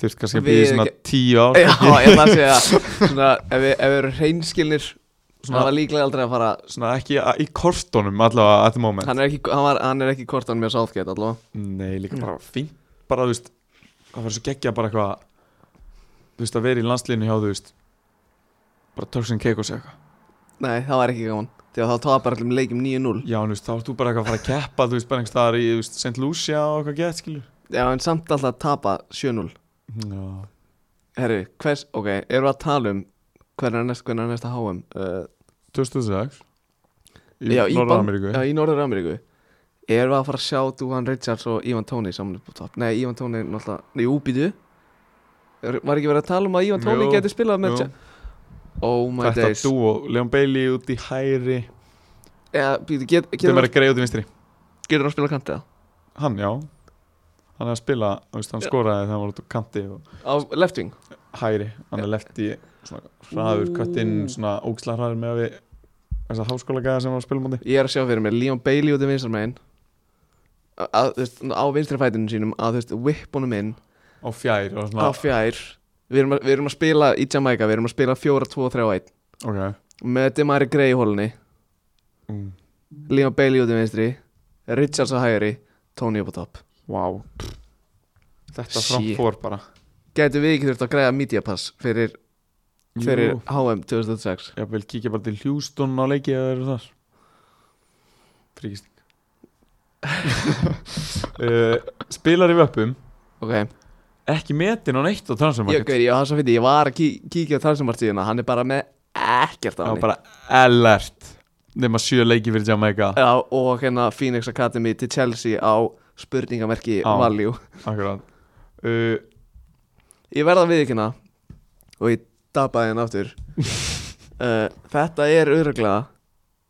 Þurft kannski að býða í Við svona ekki- tíu ár Já, kannski. ég ætla að segja svona, ef, við, ef við erum hreinskilnir Svona- Svona, hann var líklega aldrei að fara Svona ekki að- í kortunum allavega at the moment Hann er ekki, hann var, hann er ekki kortan með Southgate allavega Nei, líka Mm. bara fínt Bara þú veist Það verður svo geggja bara eitthvað Þú veist að vera í landslínu hjá þú veist Bara Turks and Caicos eða eitthvað Nei, það var ekki gaman því að þá tapar allir leikum 9-0 Já, en þú veist, þá ert þú bara eitthvað að fara að keppa Þú veist, bara einhvers staðar í þú veist, St. Lucia og eitthvað gett, skilur Já, en samt alltaf að tapa 7-0 Já, Herri, hvers, ok, erum við að tala um hvernig er næst, hvernig er næsta HM uh, 2006 Í já, Ban- Norður-Ameríku Já, í Norður-Ameríku Erum við að fara að sjá Duhan Richards og Ivan Tóni saman upp á topp Nei, Ivan Tóni náttúrulega, nei, úbýtu Var ekki verið að tala um að Ivan Tóni Jú, geti spilað með jú. Jack- Oh my Þetta days dúo, Leon Bailey út í hæri Já, býtu, get, Þetta getur er bara greið út í vinstri getur hann að spila kantið Hann, já Hann er að spila, þú veist, hann skoraði þegar hann var út á kanti og á left wing hæri, hann er left í svona hraður Ú. köttinn, svona ógsla hraður með að við þessa háskóla gæða sem hann var að spila múti Ég er að sjá fyrir mig Leon Bailey út í vinstramegin á vinstri fætinu sínum að þú veist whip honum inn á fjær og á svona fjær við erum, að, við erum að spila í Jamaica við erum að spila 4-2-3-1 ok með Demari Gray í hólunni mm. Leon Bailey út í vinstri Richards á hægri Tony upp á topp wow. Þetta Shit. framfór bara Gætu við ekki þurft að græða media pass fyrir, fyrir Jú. HM 2006 Ég vil kíkja bara til Hjústón á leiki eða eru þar Fríkisting uh, Spilar í vöppum Ok, Ekki metin á neitt á ég, transfermarket gauði, ég, var svo fyndið, ég var að kí, kíkja á transmartíðina Hann er bara með ekkert á Það var hann bara alert Nefna sjö leiki fyrir Jamaica Já, og hérna Phoenix Academy til Chelsea á spurningamerki Á. value Akkurat uh, Ég verða við ekki hérna og ég dapaði hérna aftur uh, Þetta er öruglega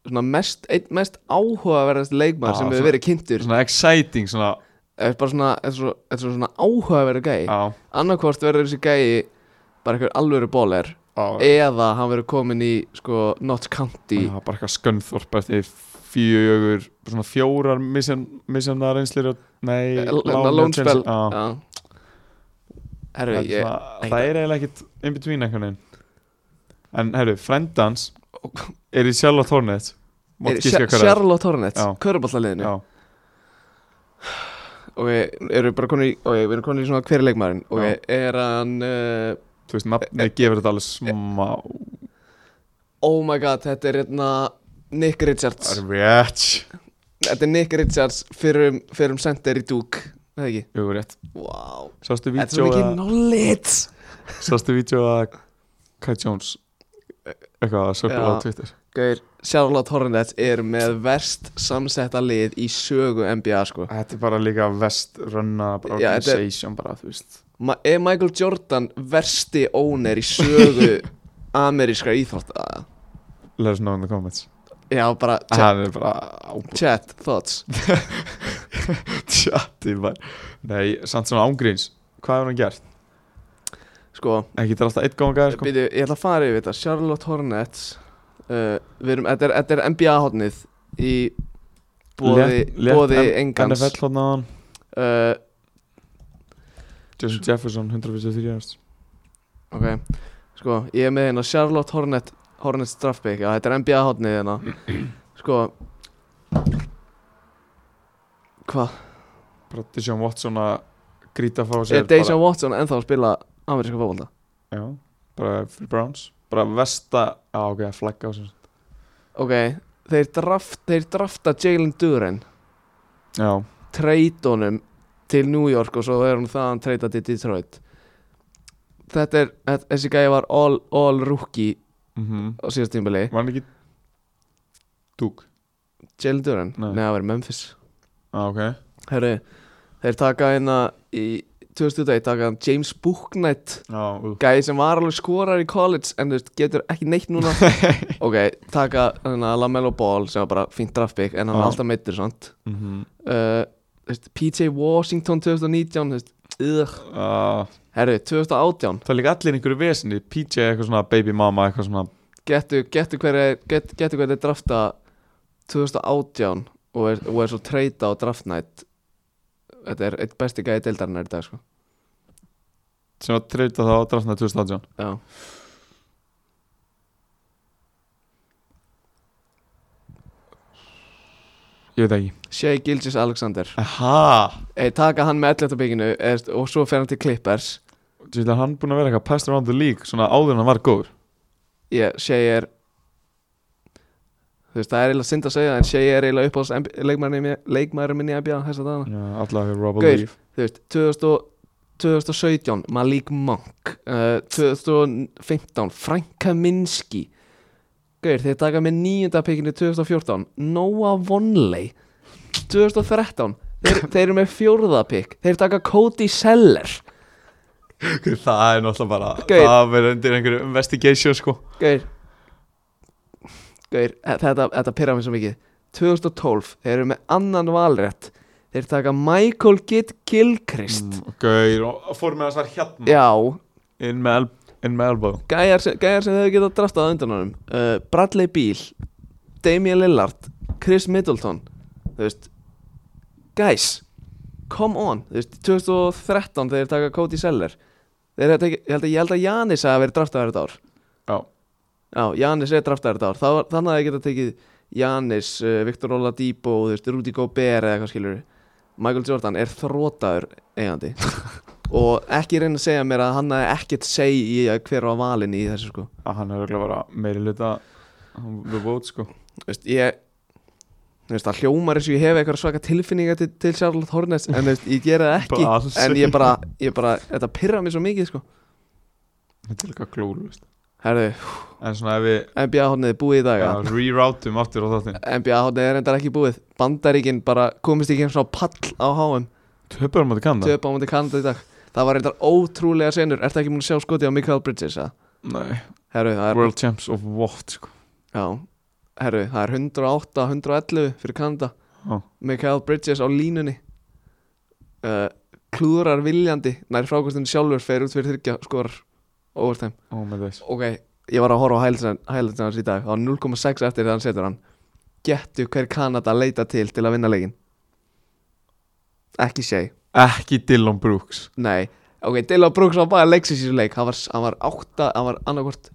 svona mest, einn mest áhugaverðast leikmaður Já, sem hefur svona- verið kynntur Svona exciting svona Þetta er bara svona, þetta er svo- þetta er svona áhugaverður gæi ja. á, Annarkvort verður þessi gæi bara einhver alvöru bóler á, eða hann verður komin í sko Notts County á, Bara eitthvað skönþorp eftir fjögur Svona fjórar misjana reynslir og, Nei L- lán hérna, hjá Lone Spell Chelsea. Já. Já. Herru, Það er ég svona- ekki- Það er eiginlega ekkit in between einhvern veginn En herru, frendans er í Charlotte Hornets Mátt er- giska Sjar- hver það er. Charlotte Hornets, Já. körballaliðinu Já, Ok, erum við bara konið í, ok, við erum konið í svona hver er leikmaðurinn Ok, Já. er hann, uh, þú veist, nafnið gefur þetta alveg smá oh my god, þetta er hérna Nick Richards Það er rétt Þetta er Nick Richards fyrir um, fyrir um center í Duke, er það ekki? Jú, rétt Wow, Sástu þetta er svo vídeo mikið að knowledge Sástu vídeo að Kai Jones e, Eitthvað að sökla á Já. Twitter Gauir, Charlotte Hornets er með verst samsetta lið í sögu NBA sko Þetta er bara líka vest runna bara Já, þetta er- organization bara, þú veist Ma Er Michael Jordan versti óner í sögu amerískra íþrótta? Let us know in the comments Já, bara chat, Það er bara ábúð chat thoughts Tjattir bara Nei, samt svona ángríns Hvað hefur hann gert? Sko, Ekki þetta er alltaf eitt góðan gæði sko Býtu, ég ætla að fara yfir þetta Charlotte Hornets uh, Við erum, þetta er, þetta er NBA hotnið Í bóði, Létt- létt bóði N- engans NFL hann aðan uh, Jason Jefferson 153 yards Ok, sko, ég er með hérna Charlotte Hornet, Hornets draft pick Já, þetta er NBA hotnið hérna Sko Hva? Bara Deshaun Watson að grýta frá sér Er Dejan Watson ennþá að spila ameríska fótbolta? bara, Já, bara fyrir Browns Bara vesta Já ok, flagga á sér Ok, þeir, draft, þeir drafta Jalen Duren Já treytunum til New York og svo er hún þaðan treyta til Detroit þetta er, þe- þessi gæði var all, all rookie mm á síðast tímbili Var hann ekki Dúk Jalen Duran, Nei. nei það var í Memphis Já ok Herru, þeir taka hérna í 2001 taka hann James Booknight Já, ú gæði sem var alveg skorar í college en þú veist, getur ekki neitt núna ok, taka hérna Lamelo Ball sem var bara fínt draftpick en hann var Já. alltaf meittur svont mm -hmm. uh, þú veist, PJ Washington 2019 þú veist, ugh. herru, 2018 Ah, Það er líka allir einhverju vesinni PJ eitthvað svona baby mama eitthvað svona getu, getu hverja get, getu hverja þeir drafta 2018 og er, og er svo treyta á draft night þetta er eitt besti gæði deildarinnar í dag sko. sem var treyta þá drafnaði 2018 Já. Ég veit ekki Shea Gilgis Alexander Aha Ei, taka hann með 11. bygginu og svo fer hann til Clippers Þú veist að hann búin að vera eitthvað passed around the league svona áður en hann var góður ég, Shea er Þú veist, það er eiginlega synd að segja en Shea er eiginlega uppáðs leikmæri minni í NBA þessa dagana Já, allavega fyrir Robert Gaur. Leaf Þú veist, 2000 og- 2017 Malik Monk uh, 2015 Frank Kaminski Gaur, þeir taka með nýjunda pikinu 2014 Noah Vonley 2013 Þeir, þeir eru með fjórða pikk Þeir taka Cody Seller Það er náttúrulega bara Gaur. Það verður undir einhverju investigation sko Gaur Gaur, e- þetta, þetta pyrra mér svo mikið 2012, þeir eru með annan valrætt Þeir taka Michael Kidd Gilchrist Mm, Gaur, og fór með að svar hérna Já, Inn með, el, inn með elbow gæjar sem, gæjar sem þau geta draftað á undan honum uh, Bradley Beal Damian Lillard Chris Middleton Þú veist Guys, come on Þú veist, 2013 þeir taka Cody Seller Þeir held ekki, ég held að, ég held að Janis hafi verið draftaður þetta ár Já, Já, Janis er draftaður þetta ár Þá, Þannig að ég geta tekið Janis, uh, Viktor Oladipo, þú veist, Rudy Gobert eða hvað skilur Michael Jordan er þrótaður eigandi og ekki reyna að segja mér að hann hafi ekkert segi í að hver var valinn í þessu sko að hann er örugglega bara meiri hluta The vote sko Þú veist, ég þú veist, það hljómar eins og ég hef eitthvað svaka tilfinninga til, til Charlotte Hornets en þú veist, ég gera það Bara ekki alls en ekki. ég bara, ég bara, þetta pyrra mér svo mikið sko Þetta er líka klúl, veist Herðu, En svona ef við NBA hornið er búið í dag ja. ja, reroutum aftur á þáttinn NBA hornið er endar ekki búið Bandaríkin bara komist ekki eins og á pall á HM Töpurum að það kann það? töpa á mútið Kanada í dag það var reyndar ótrúlega senur ertu ekki múin að sjá skoti á Mikael Bridges að? Nei, herru, það er, world champs of what sko já, herru, það er 108 111 fyrir Kanada Já. Mikael Bridges á línunni uh, klúðrar viljandi nær frákostinu sjálfur fer út fyrir þyrkja skorar overtime Ó, með þess ok, ég var að horfa á hælisinn hans í dag á 0,6 eftir þegar hann setur hann getu hver Kanada leita til til að vinna leikin ekki segi Ekki Dylan Brooks Nei, ok, Dylan Brooks var bara leiksins í þessu leik Hann var, hann var átta, hann var annarkvort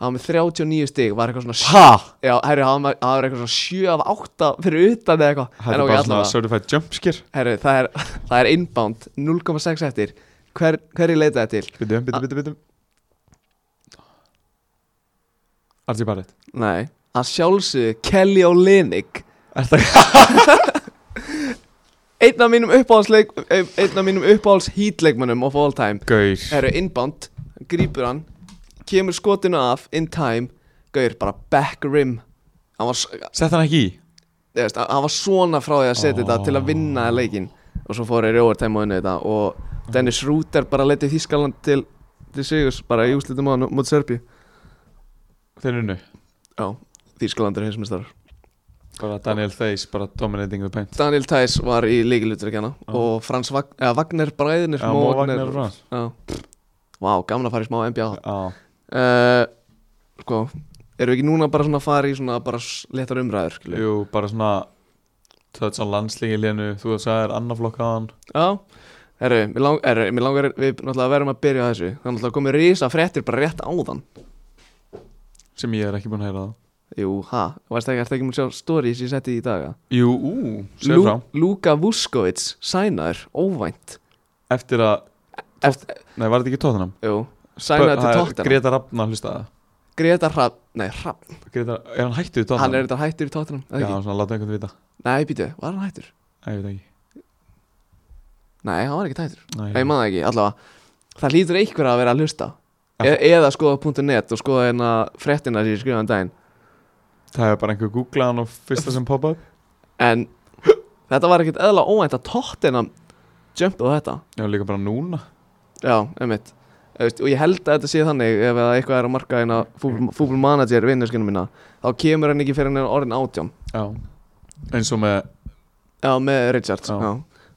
Hann var með 39 stig Var eitthvað svona sjö, Ha? Já, herri, hann var, hann var eitthvað svona 7 af 8 Fyrir utan eða eitthvað En Þetta er ok, bara svona allavega certified jumpscare Herri, það er, það er inbound 0,6 eftir Hver, Hverju leitaði til? Bitum, bitum, bitum, bitum Archie Barrett Nei Að sjálfsögðu Kelly Olynyk Er það Einn af mínum uppáhaldsleik Einn af mínum uppáhalds hítleikmannum of all time gaur? Herru, inbound, grípur hann Kemur skotinu af, in time Gaur, bara back rim Hann var, s- Sett hann ekki í? þú veist, hann var svona frá því að setja þetta til að vinna leikin og svo fór þeir í overtime og unnu þetta og Dennis Rúter bara letið Þískaland til, til Sigurs bara í úslitum á hann mot Serbi Þeir unnu Já, Þískaland er hinsmestrar Bara Daniel Theis, bara dominating the paint Daniel Theiss var í líkilutrykkjana Já. og Frans Vag eða, Wagner Bræðinir Já, Mo Wagner og Frans. Já Vá, gaman að fara í smá NBA Já, uh, Sko, erum við ekki núna bara svona að fara í svona bara s- léttar umræður, skilju? jú, bara svona Töðs á landslíki lénu, þú sagðir annaflokkaðan Já, herru, mér, lang, herru, mér langar við náttúrulega verðum að byrja á þessu Það er náttúrulega komið risa fréttir bara rétt áðan sem ég er ekki búin að heyra það Jú, ha, varst ekki, ertu ekki múin að sjá stories ég setti í dag Jú, ú, segðu frá Luka Vuskovic, sænaður, óvænt Eftir að, Eftir, nei, var þetta ekki Tottenham? Jú, sænaður til tóttina Greta Rappna hlustaði Greta Hrapp, nei Hrapp, Greta, er hann hættu í Tottenham? hann er þetta hættur í tóttina Já, svona, láta einhvern vita Nei, býtu, var hann hættur? Nei, ég veit ekki Nei, hann var ekki hættur Nei, Nei, ég maður ekki, allavega Það hlýtur einhver að vera að hlusta e Já. Eða skoða .net og skoða hérna fréttina sem ég skrifaði um daginn Það er bara einhver googlaðan og fyrsta sem poppa upp En þetta var ekkert eðla óvænt að Tottenham jumpaði á þetta Já, líka bara núna Já, einmitt Þú veist, Og ég held að þetta sé þannig ef að eitthvað er að marka hérna fútbolmanager vinnurskinu mína þá kemur hann ekki fyrir hann er orðin átján Já Eins og með, Já, með Richard Já. Já.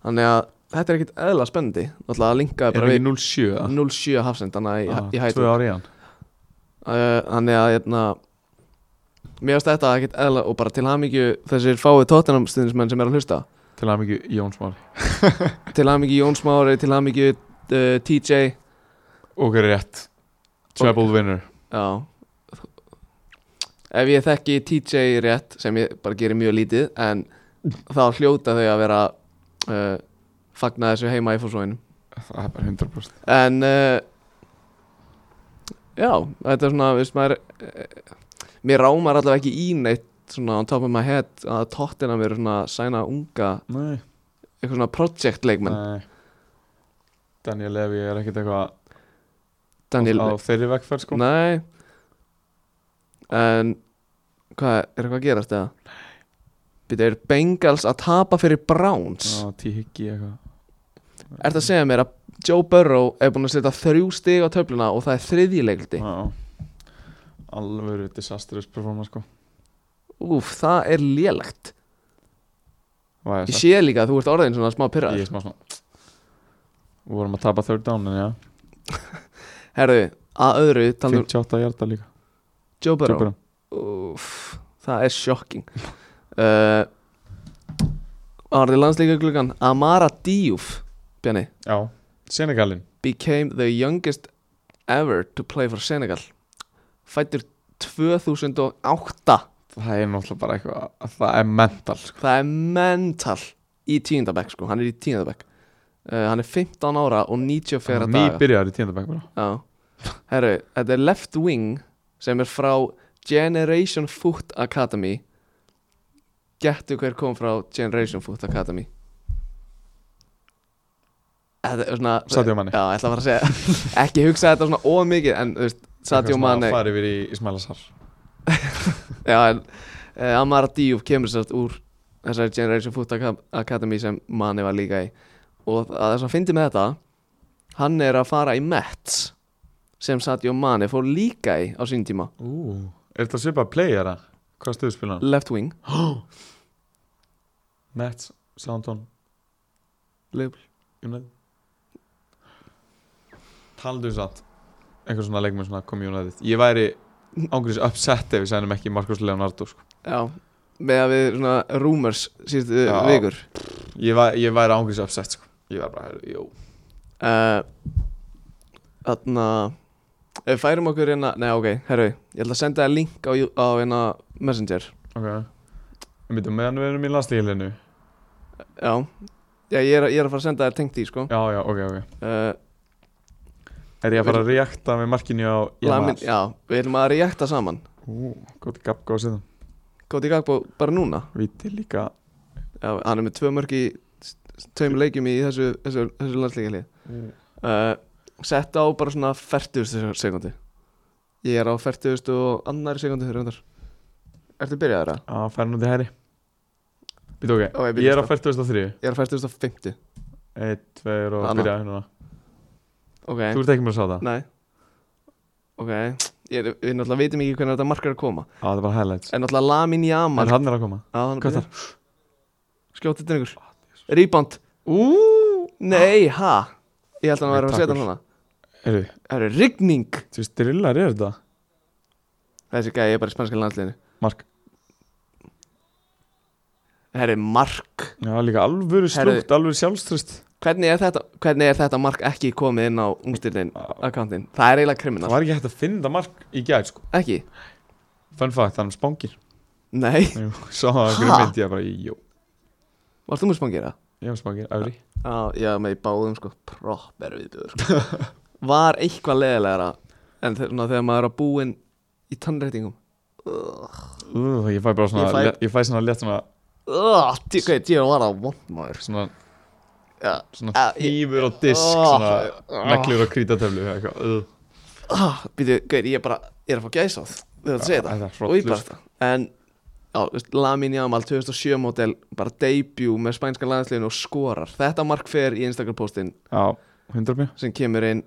Þannig að þetta er ekkert eðla spennandi Náttúrulega að linkaði er bara ekki við 07 eða? 0-7 hafsend Þannig Já, að ég, ég hætti Tvö ári í hann uh, Þannig að hérna Mér finnst þetta ekkert eðla og bara til hamingju þessir fáið Tottenham stuðnismenn sem er að hlusta Til að mikið Jóns Már Til hamingju Jóns Mári, til hamingju uh, TJ Ok, rétt Treble winner Já Ef ég þekki TJ rétt sem ég bara gerir mjög lítið en þá hljóta þau að vera uh, fagna þessu heima í fórsóinu Það er bara 100% en uh, já, þetta er svona veist, maður, uh, mér rámar eh, allavega ekki í neitt svona on top of my head að tóttina mér svona sæna unga Nei, eitthvað svona project leikmenn nei Daniel Levy er ekkert eitthvað Daniel á þeirri vegferð sko Nei En hvað, er eitthvað að gerast eða? Nei Býta, er Bengals að tapa fyrir Browns? á Tihiggi eitthvað Er það að segja mér að Joe Burrow er búin að setja þrjú stig á töfluna og það er þriðjilegildi? Já, alvöru disastrous performance sko Úf, það er lélegt Hvað Ég er sé líka að þú ert orðin svona smá það? Ég pyrraður er smá svona Við vorum að tapa third down en já Herðu, að öðru talum 58 hjarta líka Joe Burrow Tjóparum Úf, það er sjokking uh, Orðið landsleika gluggan Amara Diouf Bjarni Já, Senegalin became the youngest ever to play for Senegal fættur 2008 Það er náttúrulega bara eitthvað Það er mental sko það er mental í tíundabæk sko, hann er í tíundabæk uh, hann er 15 ára og 94 Ný daga byrjar í tíndabæk bara Já. herru, þetta er left wing sem er frá Generation Foot Academy gettu hver kom frá Generation Foot Academy þetta er svona Sadio Mane. já, ég ætla bara að segja ekki hugsa þetta svona ómikið en þú veist, Sadio Mane Fari yfir í Ismaila Sar Já, en uh, Amara Diouf kemur sérst úr þessari Generation Foot Aca- Academy sem manni var líka í og að þess að fyndi með þetta hann er að fara í Mets sem Sadio Mane fór líka í á sín tíma Ú, er þetta svipað playera? Hvað stöðu spila hann? left wing Mets, Soundon, Liverpool. United Taldu satt einhver svona leikmenn svona kom í United Ég væri ángriðs upset ef við sænum ekki Markus Leonardo sko. Já, með að við svona rumors síðustu Já. vikur ég, væ, ég væri ángriðs upset sko. Ég væri bara, jú uh, Þarna ef við færum okkur hérna, nei ok, herru ég ætla að senda þér link á, á hérna Messenger Ok Ég myndi meðan við erum í landslíðilinu Já, já ég, er, að- ég er að fara að senda þér tengt í sko Já, já, ok, ok uh, Er ég að fara að reakta með markinu á Lamin, Jamal? já, við erum að reakta saman Ú, gott gapp góð síðan Koti Gagbo bara núna Víti líka já, Hann er með tvö mörg í tveim leikjum í þessu, þessu, þessu landslíkali uh, Sett á bara svona 40 sekundi Ég er á 40 og annari sekundi reyndar Ertu byrjaður það? að færa nú til herri Býtu ok, Ok, býtu, ég er á sko. 43 Ég er á 40 og 50 1, 2 og Anna. byrja hérna Ok, Þú ert ekki mér að sá það? nei Ok, ég, er- við náttúrulega veitum ekki hvernig þetta markar er að koma Á, það er bara highlights En náttúrulega Lamin Jamal En hann er að koma Hvað Skjótið þar? drengur Rebound Úúúú Nei, ha Ég held að hann var að setja hann hana Heyrðu, Það eru rigning þú veist, drillar er þetta? Þessi gæði er bara í spænska landsliðinu Mark Herri, mark Já, líka alvöru Heyrðu. slútt, alvöru sjálfströst Hvernig er þetta, hvernig er þetta mark ekki komið inn á ungstyrnin akkántin? Það er eiginlega Það kriminal var ekki hægt að finna mark í gæð, sko Ekki? Fun fact, hann er spangir Nei Jú, Sá það Ha? hverju myndi ég bara, jú Varst þú mjög spangir það? Ég var spangir, öfri Já, já, með í báðum sko Proper viðbjöður sko. Var eitthvað leðilegra En þe- svona, þegar maður er að búin í tannreitingum Ú, Ég fæ bara svona, Ég fæ- le- ég fæ svona létt svona Hvað, ég var að vond maður Svona, Já, svona Ah, ég- hýfur og disk Ah, Svona, ah. neglur og krítatöflu Eitthvað, öð ah, býtu, gauð, ég bara Ég er að fá gæsáð Þegar þú segir það og Það er ég bara hrollust þetta en já, þú veist, um Lamin Jamal 2007 mótel bara debut með spænska landsliðinu og skorar þetta mark fer í Instagram postin Já, 100 mjö sem kemur inn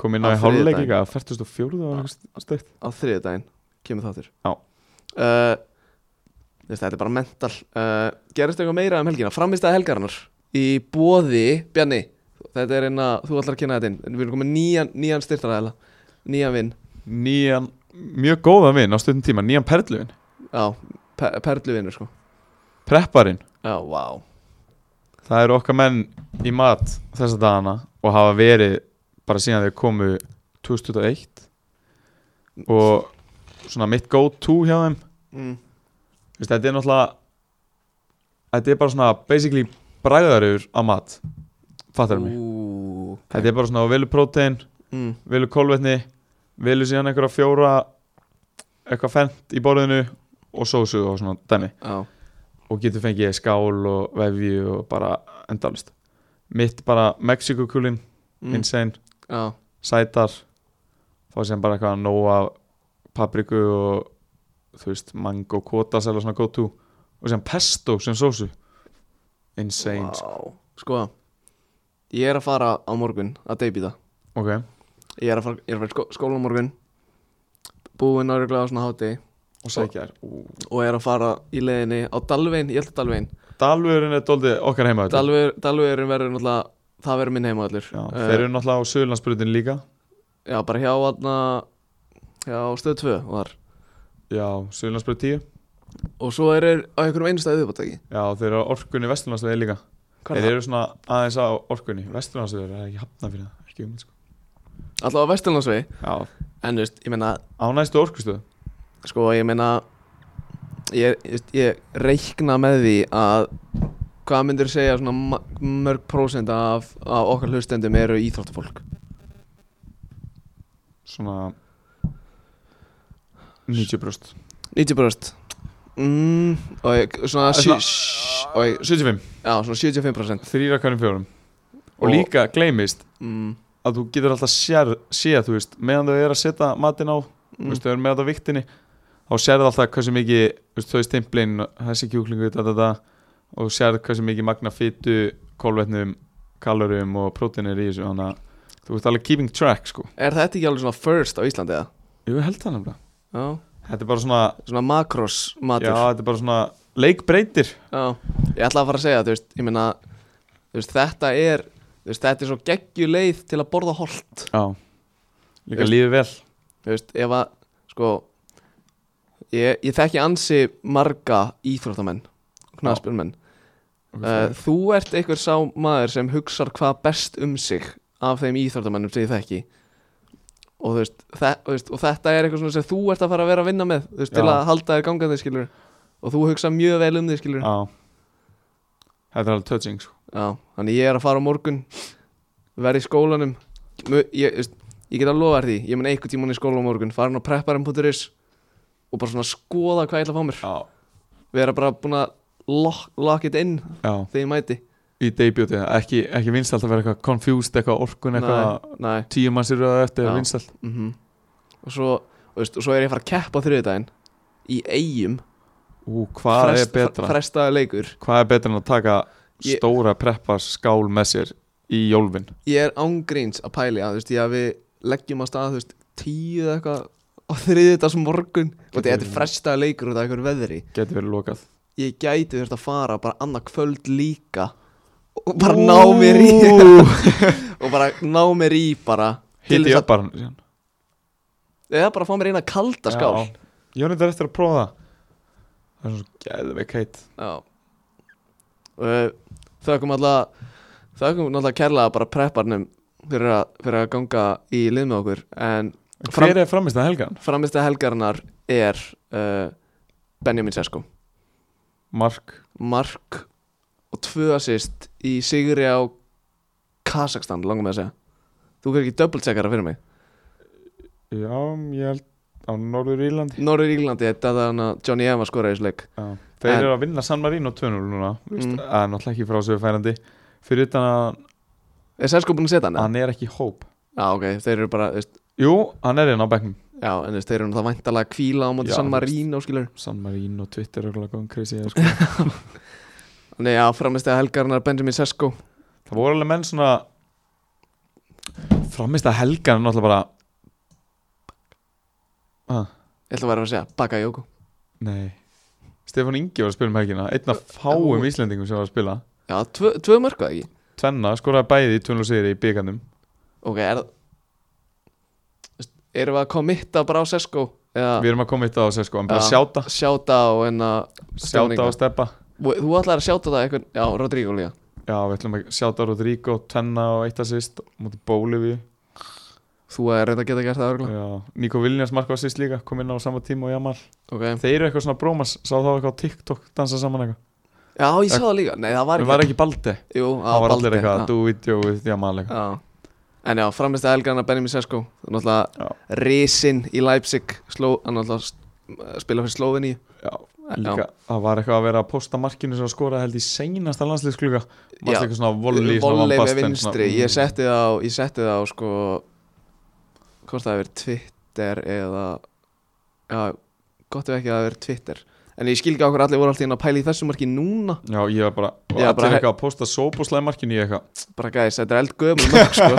Kom inn Á á í hálfleik þriðjudaginn. líka 44 og eitthvað steikt á þriðudaginn kemur þáttur Já. uh, þú veist, þetta er bara mental uh, gerist eitthvað meira um helgina framistæða helgarinnar í bóði Bjarni þetta er eina þú ætlar að kynna þetta inn en við erum komið nýjan, nýjan styrtaræðala nýjan vinn nýjan, mjög góðan vinn á stundum tíma, nýjan perluvinn, á pe perluvinnur sko prepparinn já, vá það eru okkar menn í mat þessa dagana og hafa verið bara síðan þeir komu 2001 og svona mitt go to hjá þeim mm. Þú veist, þetta er náttúrulega þetta er bara svona basically bræðarur á mat, fattar mig Ú, þetta er bara svona velu prótein, mm. velu kolvetni velu síðan einhverja fjóra eitthvað fendt í borðinu og sósu og svona dæmi Já, og getur fengið skál og vefju og bara endalist mitt bara Mexikokulin, Mm. insane já, sætar þá sem bara eitthvað nóa papriku og þú veist, mango kótas eða svona go to og sem pesto sem sósu insane, Vá. Sko, ég er að fara á morgun að deybita ok Ég er að fara, ég er að fara í skó, skóla á morgun Búinn áreglega á svona háti og sækjar, ú Og er að fara í leiðinni á Dalvin, ég held að Dalvin Dalvurinn er doldið okkar heima Dalver, Dalverin verður náttúrulega, það verður minn heimavöllur Já, Eh, þeir eru náttúrulega á Suðurlandsbrutin líka já, bara hjá aðna, hjá stöð 2 var Já, Suðurlandsbrut 10 Og svo er þeir á einhverjum einu stæðu uppáttaki Já, þeir eru á orkunni Vesturlandsvegi líka Þeir eru svona aðeins á orkunni Vesturlandsvegi er ekki hafna fyrir það Ekki um sko. Alltaf á Vesturlandsvegi Já, En þú veist, ég meina, á næstu orkustöð sko, ég meina Ég, ég, ég reikna með því að Hvað myndir segja svona ma- mörg prósent af, af okkar hlustendum eru íþróttafólk Svona 90 brúst 90 prósent mm, Og ég, svona, sjö, Svona- svona og ég, 75, Já, svona 75 prósent þrýra hverjum fjórum Og, Og- líka gleymist mm, að þú getur alltaf sér, séð, þú veist Meðan þau eru að setja matinn á Þú mm, veist, þau eru með þetta á viktinni Þá sérðu alltaf hversu mikið þú veist, Þau stimplin, þessi kjúklingu, þetta, þetta Og þú sérðu hversu mikið magna fytu Kolvetnum, kalorum Og próteinir í þessu, þannig að Þú veist alveg keeping track, sko Er þetta ekki alveg svona first á Íslandi eða? Jú, ég held það nefnilega Já, Þetta er bara svona, svona makros já, matur þetta er bara svona Leikbreytir Já, ég ætla að fara að segja, þú veist, ég meina Þú veist, þetta er, þú veist, þetta er svo geggjuleið til að borða holt Já, Þú líka veist- lífið vel þú veist, ef að sko, ég, ég þekki ansi marga íþróttamenn knaspunmenn uh, þú ert einhver sá maður sem hugsar hvað best um sig af þeim íþróttamennum sem ég þekki og þú veist, þe og, þú veist og þetta er eitthvað svona sem þú ert að fara að vera að vinna með þú veist, til Já. að halda þér gangandi skilur og þú hugsa mjög vel um þig skilur Já Þetta er alveg touching, sko Já, þannig ég er að fara á morgun verði í skólanum Mö- ég, veist, ég get að lofa þér því ég mun einhvern tímann í skóla á morgun farin á prepparum.is og bara svona skoða hvað ég ætla að fá mér Já, vera bara búin að lock, lock it in já, þegar ég mæti í debutið Ekki, ekki vinstalt að vera eitthvað confused Eitthvað orkun, eitthvað nei, nei, tíu mann sér að eftir Já. Vinstalt mm og, svo, og, veist, og svo er ég að fara að keppa á þriðudaginn í eigum Ú, hvað er betra? frestaði leikur Hvað er betra en að taka Ég- stóra preppars skál með sér í jólfin? ég er ángríns að pæli að, þú veist, ég að við leggjum á stað þú veist, tíu eða eitthvað á þriðudags morgun og þetta er frestaði leikur út af einhverju veðri Geti verið lokað ég gæti þurft að fara bara annað kvöld líka og bara ná mér í og bara ná mér í bara til Hitti þess upp bara hann síðan. að eða bara fá mér eina kalda skál já. Já. Ég var neitt eftir að prófa það Það er svo geðveik heitt og eh, þökkum alltaf þökkum alltaf kærlega bara prepparnum fyrir að, fyrir að ganga í lið með okkur en En Fram- Hver er framist að helgan? framistið helgarinnar er uh, Benjamin Sesko Mark mark og tvö assist í sigri á Kazakstan, langum með að segja þú verður ekki double-checkara fyrir mig Já, ég held á Norður Írlandi Norður Írlandi, þetta er hann að Johnny Eva skoraði í þessu leik Já. Þeir En- eru að vinna San Marino 2-0 núna mm. Mm. En náttúrulega ekki frá sig færandi Fyrir utan að Er Sesko búin að setja hann? eða? hann er ekki í hóp Já, ok, þeir eru bara, þú veist, Jú, hann er einn á bekknum já, en þú veist, þeir eru það væntalega að kvíla á móti Já, San þú veist. Marino, skilur San Marino, Twitter og eitthvað crazy sko. Nei, já, framist eða helgarinnar Benjamin Sesko Það voru alveg menn svona Framist að helgan er náttúrulega bara ah, Ég ætla að vera að segja, baka Jóko Nei Stefán Ingi var að spila um helgina Einn af fáum Íslendingum sem var að spila Já, tvö, tvö mörg, eða ekki? Tvenna skoraði bæði í tvenn og sigri í byggandum Ok, er það þú veist, Erum við að kommitta bara á Sesko? Við Eða erum að koma eitt á þessu sko En bara Já. sjáta, sjáta hérna á en að sjáta Stemninga. og steppa Þú ætlar að sjáta það eitthvað, já, Rodrigo líka Já, við ætlum að sjáta Rodrigo Tvenna og eitt assist Múti Bólivíu Þú er reynda að geta gert það örgulega Nico Viljans marka assist líka Kom inn á sama tíma og Jamal Ok, Þeir eru eitthvað svona brómas Sá þá eitthvað á TikTok dansa saman eitthvað já, ég sá það líka Nei, það var Það ekki, var ekki baldi jú, Það var Baldi, allir já. eitthvað Do video with Jamal eitthvað Já. En já, framist að Elgrana Benjamin Sesko Náttúrulega Já. risinn í Leipzig sló, Hann náttúrulega s- spila eh, fyrir Sloveni Já, líka, það var eitthvað að vera að posta markinu sem að skora held í seinasta landslíðskluga Já. Varst eitthvað svona volley svona Volley með vannbast en svona- Mm. vinstri ég setti það á, ég setti það á sko hvort það hefur verið Twitter eða já, gott ef ekki að það hefur verið Twitter en ég skil ekki okkur allir voru alltaf inn að pæla í þessu marki núna Já, ég var bara, og Já, allir bara- eitthvað að posta sópúslega markinu í eitthvað bara gæðis, þetta er sko. eldgöðum mörg sko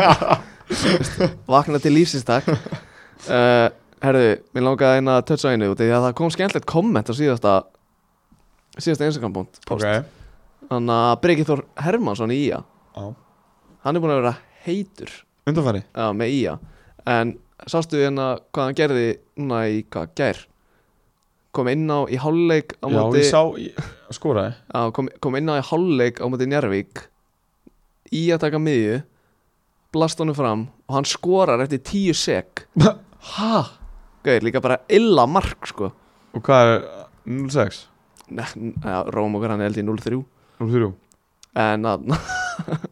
Veist, vakna til lífsinstak uh, herðu, mér langaði eina að toucha á einu út af því að það kom skemmtilegt komment á síðasta síðasta Instagram-bónd Ok, okay. þannig að Breki Þór Hermansson í IA já, hann er búin að vera heitur undanfæri já, með IA en sástu hérna hvað hann gerði núna í hvað gær kom inn á í hálfleik á Já, móti, ég sá, ég, skoraði á, kom, kom inn á í hálfleik á móti Njarvík í að taka miðju blast honum fram og hann skorar eftir tíu sek ha? Gauð, líka bara illa mark sko Og hvað er, 06, Nei, ja, Róm okkar hann er held í 0-3 03 en að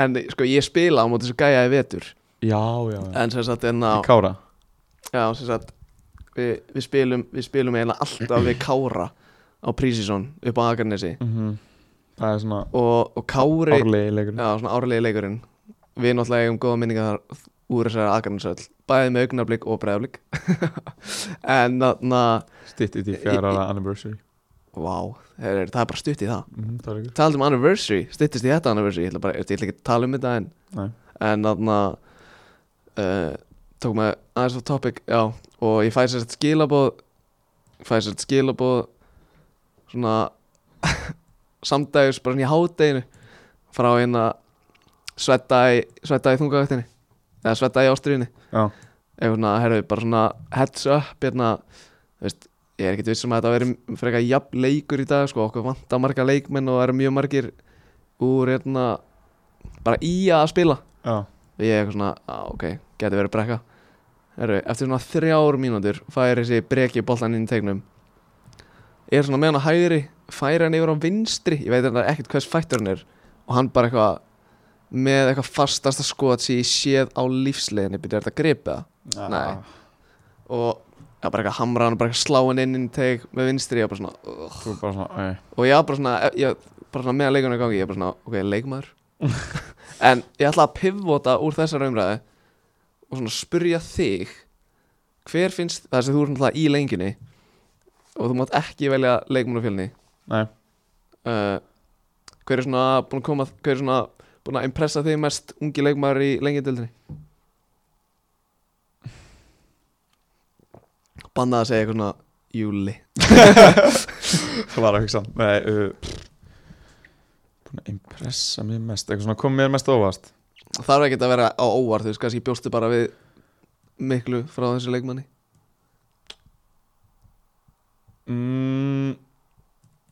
en sko ég spila á móti þessu gæja í vetur Já, já, já, en sem sagt enn í Kára Já, sem sagt við, við spilum, við spilum eiginlega alltaf við Kára á Prísísson upp á Akarnesi Mhm. Það er svona og, og Kári árlegi leikur Já, svona árlegi leikurinn Við náttúrulega eigum góða minningar þar úr þessari Akarnesöll Bæði með augnablík og bregðablík En þarna Stitt í því fjara ára anniversary Vá, heyrðu, það er bara stutt í það Mhm, Það er leikur Talað um anniversary, stuttist í þetta anniversary Ég ætla, bara, ég ætla ekki að tala um þetta en Nei. En þarna uh, Tók mig aðeins á topic Já, og ég fæ sér skilabóð Fæ sér skilabóð Svona Samdægis bara svona í hádeginu Frá hérna Svetta í, svetta í þungavættinni Eða svetta í ástriðinni Já, Eitthvað svona, herðu, bara svona heads up Hérna, þú veist Ég er ekkert viss um að þetta veri frekar jafn leikur í dag sko, okkur vantar marga leikmenn og það eru mjög margir úr hérna bara í að spila já, og ég er eitthvað svona, á ok, geti verið brekka Heru, eftir svona þrjár mínútur fær þessi breki boltan inn í tegnum ég er svona með hann á hægri fær hann yfir á vinstri ég veit þetta ekkert hvers fættur hann er og hann bara eitthvað með eitthvað fastasta skot sem ég séð á lífsleginni byrjar þetta að gripa Nei. Ah, og ég bara eitthvað hamra hann bara eitthvað slá hann inn í teg með vinstri ég var bara svona, ugh. Þú er bara svona, ei og ég var bara svona, ég, bara svona meðan leikunum í gangi ég bara svona, ok, leikmaður en ég ætla að pivota úr þessar umræðu og svona spurja þig hver finnst, það sem þú er svona í lengjunni og þú mátt ekki velja leikmann á fjölni Nei, uh, hver er svona búin að koma, hver er svona búin að impressa þig mest ungi leikmaður í lengjadildinni bannað að segja eitthvað svona júli það var að hugsa Nei, uh, pff. búin að impressa mér mest Eitthvað svona kom mér mest óvast þarf ekki að vera á óvart þú veist, kannski bjóstu bara við miklu frá þessu leikmanni mm,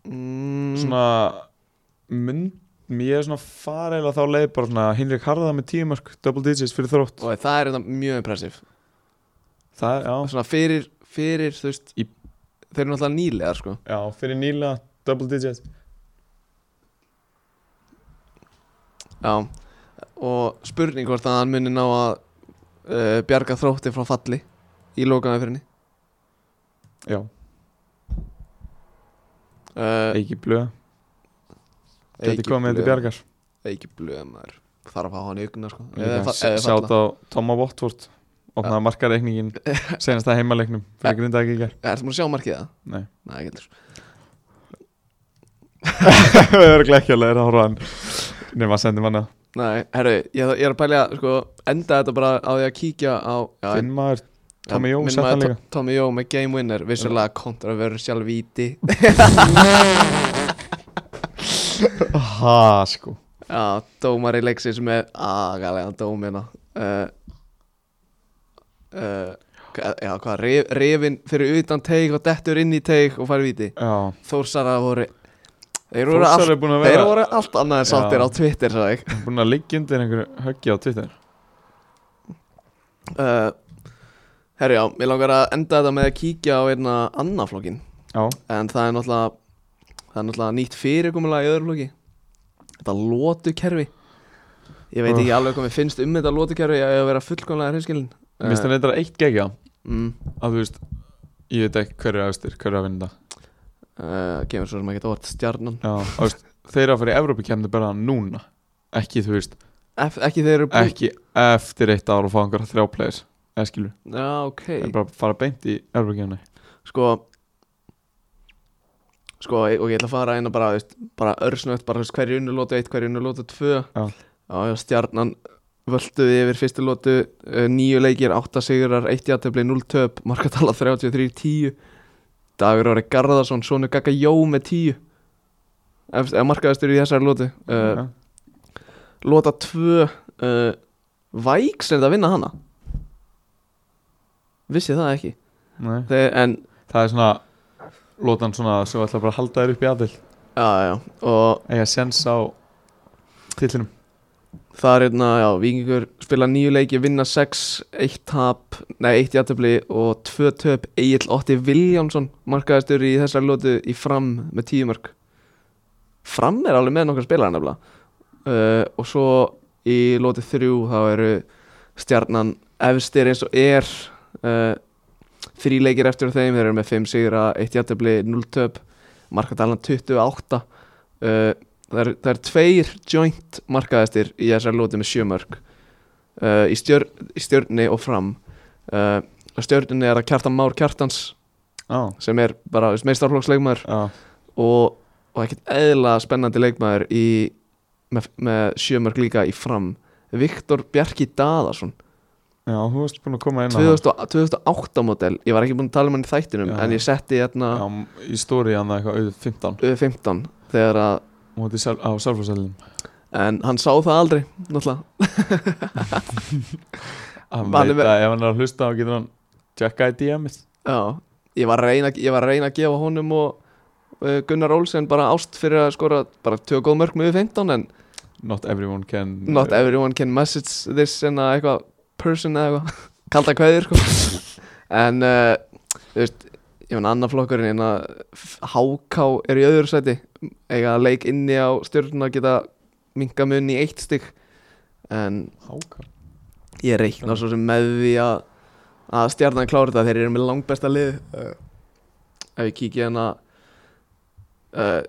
mm, Svona mynd, Mér er svona fareilega þá leið bara svona Hinrik Harða með tímark, double digits fyrir þrótt og það er þetta mjög impressif Það, já, svona fyrir, fyrir þú veist Í- þeir eru náttúrulega nýlegar sko já, fyrir nýla double digits Já. og spurning hvort að hann muni ná að uh, bjarga þrótti frá falli í lokaðan fyrir henni Já, uh, Eiki Blöð, geti komið til Bjargar ekki blöðmaður þarf að fá hann í augna sko Eða fa- eða falla. Sjátt á Toma Watford Opnaði ja. markareikningin Senast að heimaleiknum Fyrir ja. grindaði ekki Ertu múin að sjá markið það? Nei. Nei, ekki heldur. Við erum ekki að leira að horfa á hann Nefn að senda manna Nei, herru, ég, ég er að pælja sko, enda þetta bara á því að kíkja á já, Finn maður Tommy Já, Jó minn sett hann maður líka To- Tommy Jó með Game Winner Vissulega kontroversial víti Ha sko Já, dómari leiksins með agalega dómina uh, uh, hva- Já, hvað rif, Rifin fyrir utan teig og dettur inn í teig og fari víti Já Þórsara voru Þeir voru, Þórsar all, er búin að þeir vera voru allt annað en sáttir Já. á Twitter sagði ég. Búin að liggja undir einhverju höggi á Twitter uh, Herru já, mér langar að enda þetta með að kíkja á einna annaflokkin Já En það er náttúrulega Það er náttúrulega nýtt fyrirkomulega í öðru flóki Þetta lótukerfi Ég veit ekki alveg hvað mér finnst um þetta lótukerfi Ég hef að vera fullkomlega hreinskilin Mér finnst það reyndar eitt gegja mm, Að þú veist Ég veit ekki hverju afstir Hverju að vinna það uh, kemur svo sem ekki þetta vart stjarnan Já, þú veist, þeir að fara í Evrópikemni bara núna Ekki, þú veist, Ef, ekki þeir eru búin ekki eftir eitt ár og fá einhverja þrjá players Eða skilur, já ok þeir bara fara beint í Evrópikemni sko sko og ég ætla að fara einu bara, þú veist, bara örsnögt bara þú veist, hverju unnu lótu 1 hverju unnu lótu 2 Já. já stjarnan völduði yfir fyrstu lótu uh, nýju leikir, 8 sigurar, 1 játtöfli 0 töp, markatala 33 10 Dagur Ári Garðarsson Sonu Gagga Jó með 10 Efst- eða markaðastur í þessari lótu uh, Já. lóta 2 uh, Væks er þetta að vinna hana vissi það ekki Nei. Þeir, en Það er svona Lótan svona sem ætla bara að halda þér upp í aðil já, já, og Eiga sens á Tillinum það er hérna, já, vikingur spila nýju leiki, vinna 6, 1 tap, nei, 1 játtöfli og 2 töp, Egil Otti Viljámsson markaðistur í þessari lótu í fram með 10 mörg fram er alveg með nokkar spilaði nefnilega uh, og svo í lótu 3 þá eru stjarnan efstir eins og er uh, þrý leikir eftir af þeim, þeir eru með 5 sigra 1 játtöfli, 0 töp markadalan 28 uh, það er, það er tveir joint markaðastir í þessar lóti með sjömörk uh, í, stjörn, í stjörni og fram uh, og stjörninni er að kjartan Már Kjartans Já, sem er bara meistarflóksleikmaður já, og, og ekkert eðla spennandi leikmaður í, með, með sjömörk líka í fram Viktor Bjarki Daðarsson já, þú varst búin að koma inn á hann. 2000 2008 model, ég var ekki búinn að tala um hann í þættinum Já. en ég setti hérna Já, í stóri hann eitthvað auðvitað 15 uh, 15 þegar að, Móti sel- á sjálfsælum en hann sá það aldrei náttúrulega, Hann Hann er veit með- að ef hann er að hlusta þá getur hann Tjekka í DM-ið Já, ég var að reyna, ég var að, reyna að gefa honum og uh, Gunnar Olsen bara ást fyrir að skora bara tjóða góð mörg með 15 en Not everyone can uh, not everyone can message this en að eitthvað person eða eitthvað kalda kveðir sko en uh, þú veist ég meina annar flokkurinn hérna, en að HK er í öðru sæti eiga að leik inni á stjórnuna geta minka mun í eitt stygg en Háka ég reikna svo sem með því að að stjarnan klára þetta þeir eru með langbesta lið uh, ef ég kíkja hérna uh,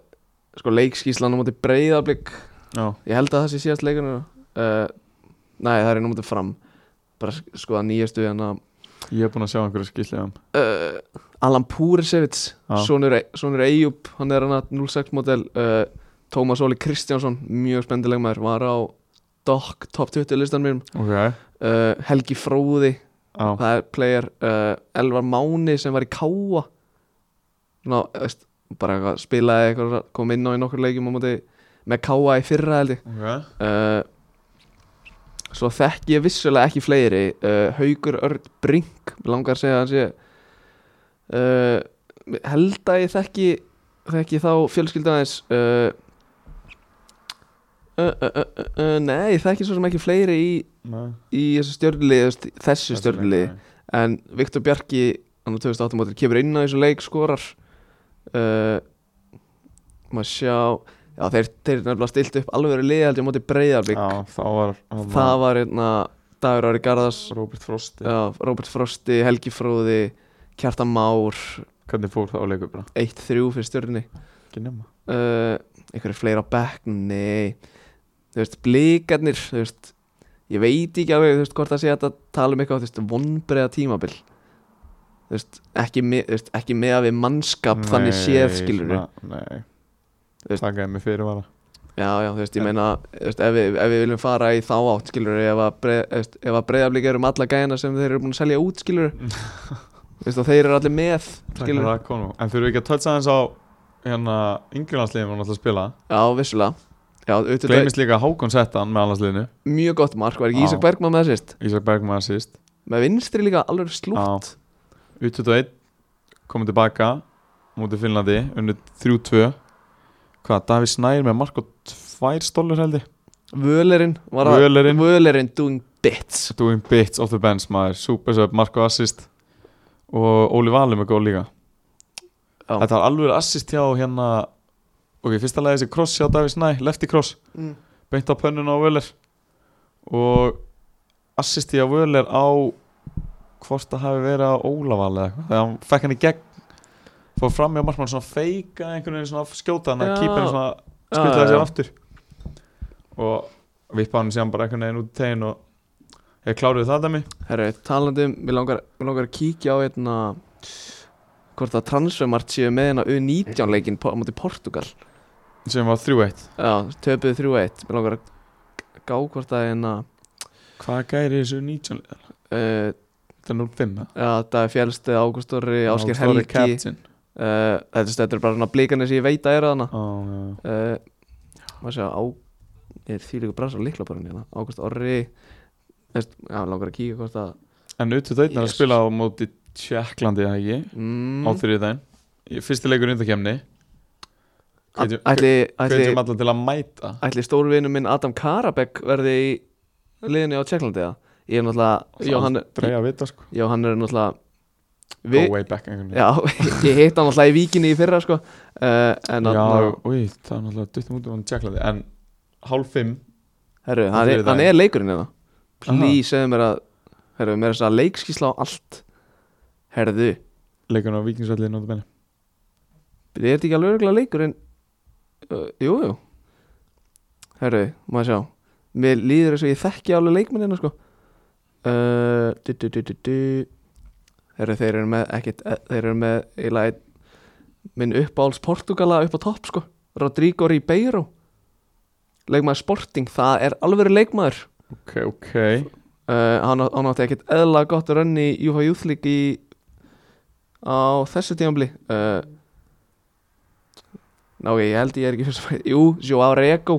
sko leikskíslan á móti breyðablík Já, ég held að það sé síðast leikunum uh, nei það er nú móti fram bara sk- skoða nýjastu hérna ég er búin að sjá einhverja skýrlega um uh, Alan Púrisevits Já. sonur, E- sonur Eyjup hann er hérna hann að 06 model uh, Tómas Óli Kristjánsson mjög spendileg maður var á DOC top 20 listan mínum Ok, uh, Helgi Fróði já, það er player uh, Elvar Máni sem var í Káa Ná, veist, bara eitthvað, spilaði eitthvað, kom inn á í nokkur leikjum á móti með Káa í fyrra held ég ok uh, svo þekki ég vissulega ekki fleiri uh, Haugur Örd Brink mig langar að segja að hann sé uh, held að ég þekki þekki þá fjölskyldaðins uh, uh, uh, uh, uh, uh, nei, ég þekki svo sem ekki fleiri í, Nei, í þessu stjörnlið þessu þessi stjörnlið leikmaður. en Viktor Bjarki hann á 2008 mótil kemur inn á þessu leik skorar uh, maður sjá já, þeir, þeir nefnilega stilt upp alveg verið liðaldi á móti breyðarbygg Já, þá var hann það var hérna Dagur Ári Garðars Robert Frosti já, Robert Frosti, Helgi Fróði Kjartan Már, Hvernig fór það á leikur bara? 1-3 fyrir stjörni Ekki nema uh, einhverju fleira á bekk, nei þú veist, blíkarnir þú veist, ég veit ekki alveg þú veist, hvort það sé hægt að tala um eitthvað þú veist, vonbreiða tímabil þú veist, ekki, me, þú veist, ekki með að við mannskap þannig séð skilur já, svona- Nei, Þú veist- þakkaði mig fyrir vara já, þú veist, ég meina þú veist, ef, við, ef við viljum fara í þá átt skilur ef að, breið, þú veist, ef að breiðablík eru um alla gæna sem þeir eru búin að selja út skilur þú veist, og þeir eru allir með Skilur skilur, það konu En þurfum við ekki að tölsa aðeins á Hérna, yngrilandsliðin var náttúrulega að spila já, vissulega já, auðvitað, Gleimist líka að Hákon setta hann með allansliðinu mjög gott mark, var ekki Já. Ísak Bergman með það sýst Ísak Bergman assist með vinstri líka alveg slútt U21 komið tilbaka mútið Finnlandi unnið 3-2 hvað, Davíð Snær með mark og tvær stólur held ég Völerinn var að Völerinn, Völerinn doing bits doing bits off the bench maður, super sub, mark og assist og Óli Valur með góð líka Já. þetta var alveg assist hjá hérna ok, fyrsta lagi þessi cross hjá Davíð Snær lefty cross, mm. beint á pönnuna á Völer og assisti á Völer á hvort það hafi verið á Ólaval eða eitthvað, þegar hann fekk hann í gegn fór fram hjá markmann svona feika einhvern veginn svona skjóta hann Já. að kýpa hann svona Já, skutlaði já, sér já. aftur og vippa hann síðan bara einhvern veginn út í tegin og ég kláruði það dæmi Herru, talandi um, við langar, við langar að kíkja á einna hvort að transfermart séu með hérna U19 leikinn á móti Portugal sem var 3-1 Já, töpuð 3-1 Við langar að gá hvort að hérna Hvað gæri þessu 19? uh, Þetta er 0-5 eða? Já, það er fjælstu Ágúst Orri, Ásker Ágúst Orri Helgi uh, captain. þetta, þetta er bara svona blíkanir sem ég veit að eru þarna Á, já, já. uh, Maður sé að á er því líka brasa líkla bara hérna Ágúst Orri veist, Já, við langar að kíkja hvort að En auðvitað einn er að Jesus. spila á móti Tjekklandi eða ekki á mm, þriðið daginn Fyrsti leikur undakemni hvetjum- Ætli, ætli, Hvetjum alla til að mæta ætli stórvinu minn Adam Karabek verði í liðinni á Tjekklandi eða? Ég er náttúrulega Já, hann, Dreig að vita sko já, hann er náttúrulega Go Vi, way back einhvern Já, ég hitt hann náttúrulega í víkinni í fyrra sko uh, En Já, hann, úi, það er náttúrulega duttum út um hann Tjekklandi En hálf fimm herru, hann, á er, þriðjudaginn. hann er leikurinn hérna Please, segðu mér að Herru, mér er þess að leikskísla á allt Herðu, Leikurinn á Víkingsvellið notabenni þið ert ekki alveg örgulega leikurinn uh, Jú, jú Herru, maður sjá Mér líður þess að ég þekki alveg leikmennina sko uh, du, du, du, du, du. Herru, þeir eru með ekkit, eh, Þeir eru með eiginlega einn- Minn uppáhalds Portugala upp á topp sko Rodrigo Ribeiro Leikmaður Sporting, það er alveg leikmaður Ok, ok uh, hann, á- hann átti ekkert eðla gott að rönni í UFA Youth League í, á þessu tímanbli uh, ná ég held ég er ekki fyrst að jú, Joao Rego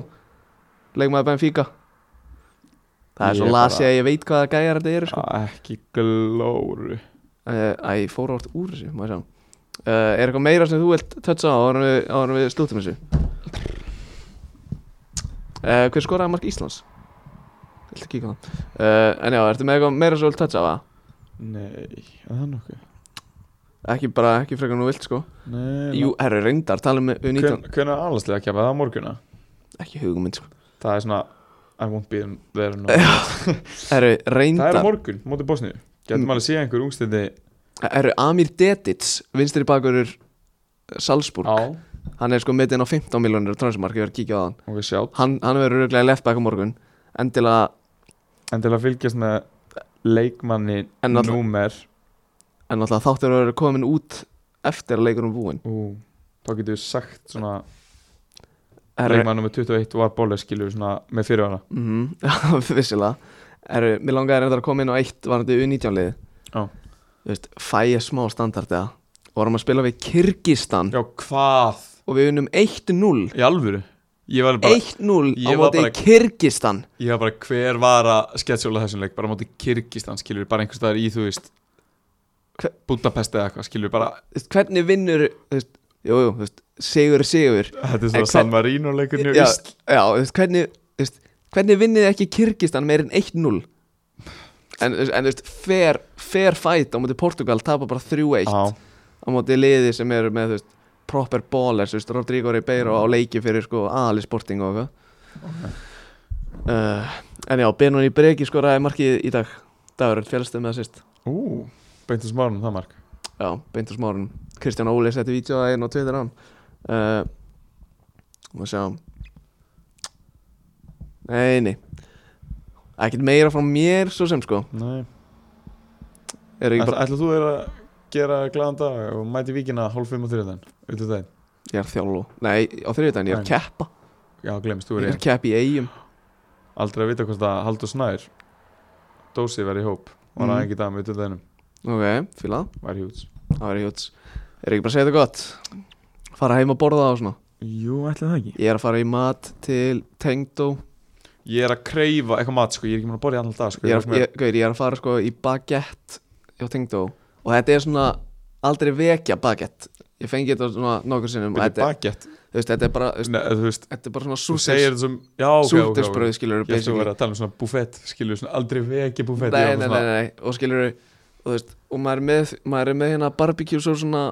leikmaður Benfica það er Ég svo bara- lasi að ég veit hvaða gæjar þetta eru sko. Ekki glóru uh, æ, ég fór átt úr þessu maður sjá Uh, er eitthvað meira sem þú vilt tötsa á áður en við, áður en við slúttum þessu uh, Hver skoraði mark Íslands? Viltu kíka á það? Uh, en já, ertu með eitthvað meira sem þú vilt tötsa á það? Nei, er það nokkuð? Ekki bara, ekki frekar nú vilt sko Nei, Jú, herru, reyndar, tala um U19 Hvernig er aðlagslega að kemja það á morgunna? Ekki hugmynd sko Það er svona I won't be there no Herru, Það er á reyndar morgun, móti Bosníu Getum Mm. alveg að sé einhver ungstindi Herru, Amir Dedic, vinstri bakurur Salzburg á Hann er sko metin á 15 miljonir transmark Ég verð að kíkja á hann og við sjátt Hann, hann verður röglega left back á morgun Endilega, En til að fylgjast með leikmanni En náttúrulega- númer en náttúrulega þáttur verður komin út Eftir að leikur um búin ú, Þá getum við sagt svona Herru, Leikmann nummer 21 var bólega skilur svona með fyrirvara mhm, já, vissilega Herru, mér langaði reyndar að koma inn á eitt Varandi U19 liði Já. Þú veist, fæja smá standard eða Vorum að spila við Kyrkistan Já, hvað? Og við unum 1-0 Í alvöru? Ég var bara, 1-0 á Ég var móti bara- Kyrkistan ég var bara hver var að sketsjóla þessum leik bara á móti Kyrkistan skilur bara einhvers staðar í þú veist Hve- Budapest eða eitthvað skilur bara Þú veist, hvernig vinnur þú veist, jú, jú, þú veist, sigur er sigur Þetta er En svona hvern- San Marino Já. leikur njög ísl já, þú veist, hvernig, þú veist, hvernig vinnið þið ekki Kyrkistan meir en 1-0 en, þú veist- en þú veist, fair, fair fight á móti Portugal tapa bara 3-1 Já, á móti liði sem eru með þú veist, proper ballers, þú veist, Rodrigo Ribeiro á leiki fyrir sko aðali sporting og eitthvað uh, en já, Benoni Breki skoraði markið í dag Dagur, fjálstu með það sýst ú, beintu smárum það mark Já, beint á smárun Kristján Óli setti vítjóða inn á Twitter hann uh, Og sjá Nei, nei Ekkert meira frá mér svo sem sko Nei Er ekki Ætla, bara ætla þú er að gera glæðan dag og mæti vikina hálf fimm og þriðan Yllu daginn Ég er þjálfó Nei, á þriðudaginn ég er að Nei. keppa Já, glemst, þú Ég er er að ég keppa í eigum Aldrei að vita hvort að Haldur Snær Dósi var í hóp Var Mm. að engi dag með yllu daginnum Ok, fíla það. Var hjúts Það verður hjóts Er ekki bara að segja þetta gott Fara heim að borða það og svona Jú, ætla það ekki Ég er að fara í mat til Tengdó Ég er að kreifa eitthvað mat, sko Ég er ekki mér að borja allan dag, sko ég, er- er, ég, gaur, ég er að fara sko í baguette hjá Tengdó og þetta er svona aldrei vekja baguette ég fengi þetta svona nokkur sinnum og Byrju þetta, bagett þú veist, þetta er bara þú veist, Nei, þú veist þetta er bara svona Þú segir súrdeis- þessum Já, ok, ok, ok súrdeisbrauð skilur Ég ætla að vera að tala um svona buffett Skilur svona aldrei vegi buffett nei, nei, nei, nei, og skilur og, þú veist, og maður, er með, maður er með hérna barbecue svo svona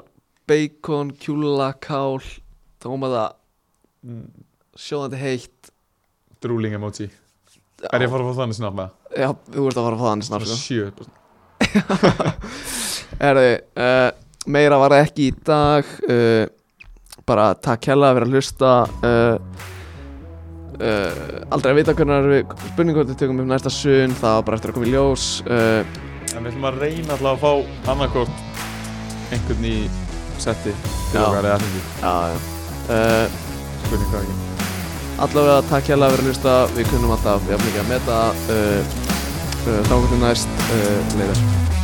bacon, kjúla, kál tómaða, nei sjóðandi heitt Drúling mm, emoji Er ég að fara að fá þannig snabba? Já, sko. þú ert að fara að fá það annars Svona snart sko. sjö bara svona. Herðu, uh, meira var það ekki í dag uh, bara takk hella að vera að hlusta uh, uh, aldrei að vita hvernig við spurningum við tökum upp næsta sunn það var bara eftir að koma í ljós uh, En við ætlum að reyna alltaf að fá annarkort einhvern í setti til Já. okkar eða hringi, já, já. Uh, spurning hvað ekki. allavega takk hella að vera að hlusta eh, við kunnum alltaf jafn mikið að meta uh, uh, þá hvernig næst uh, leiðar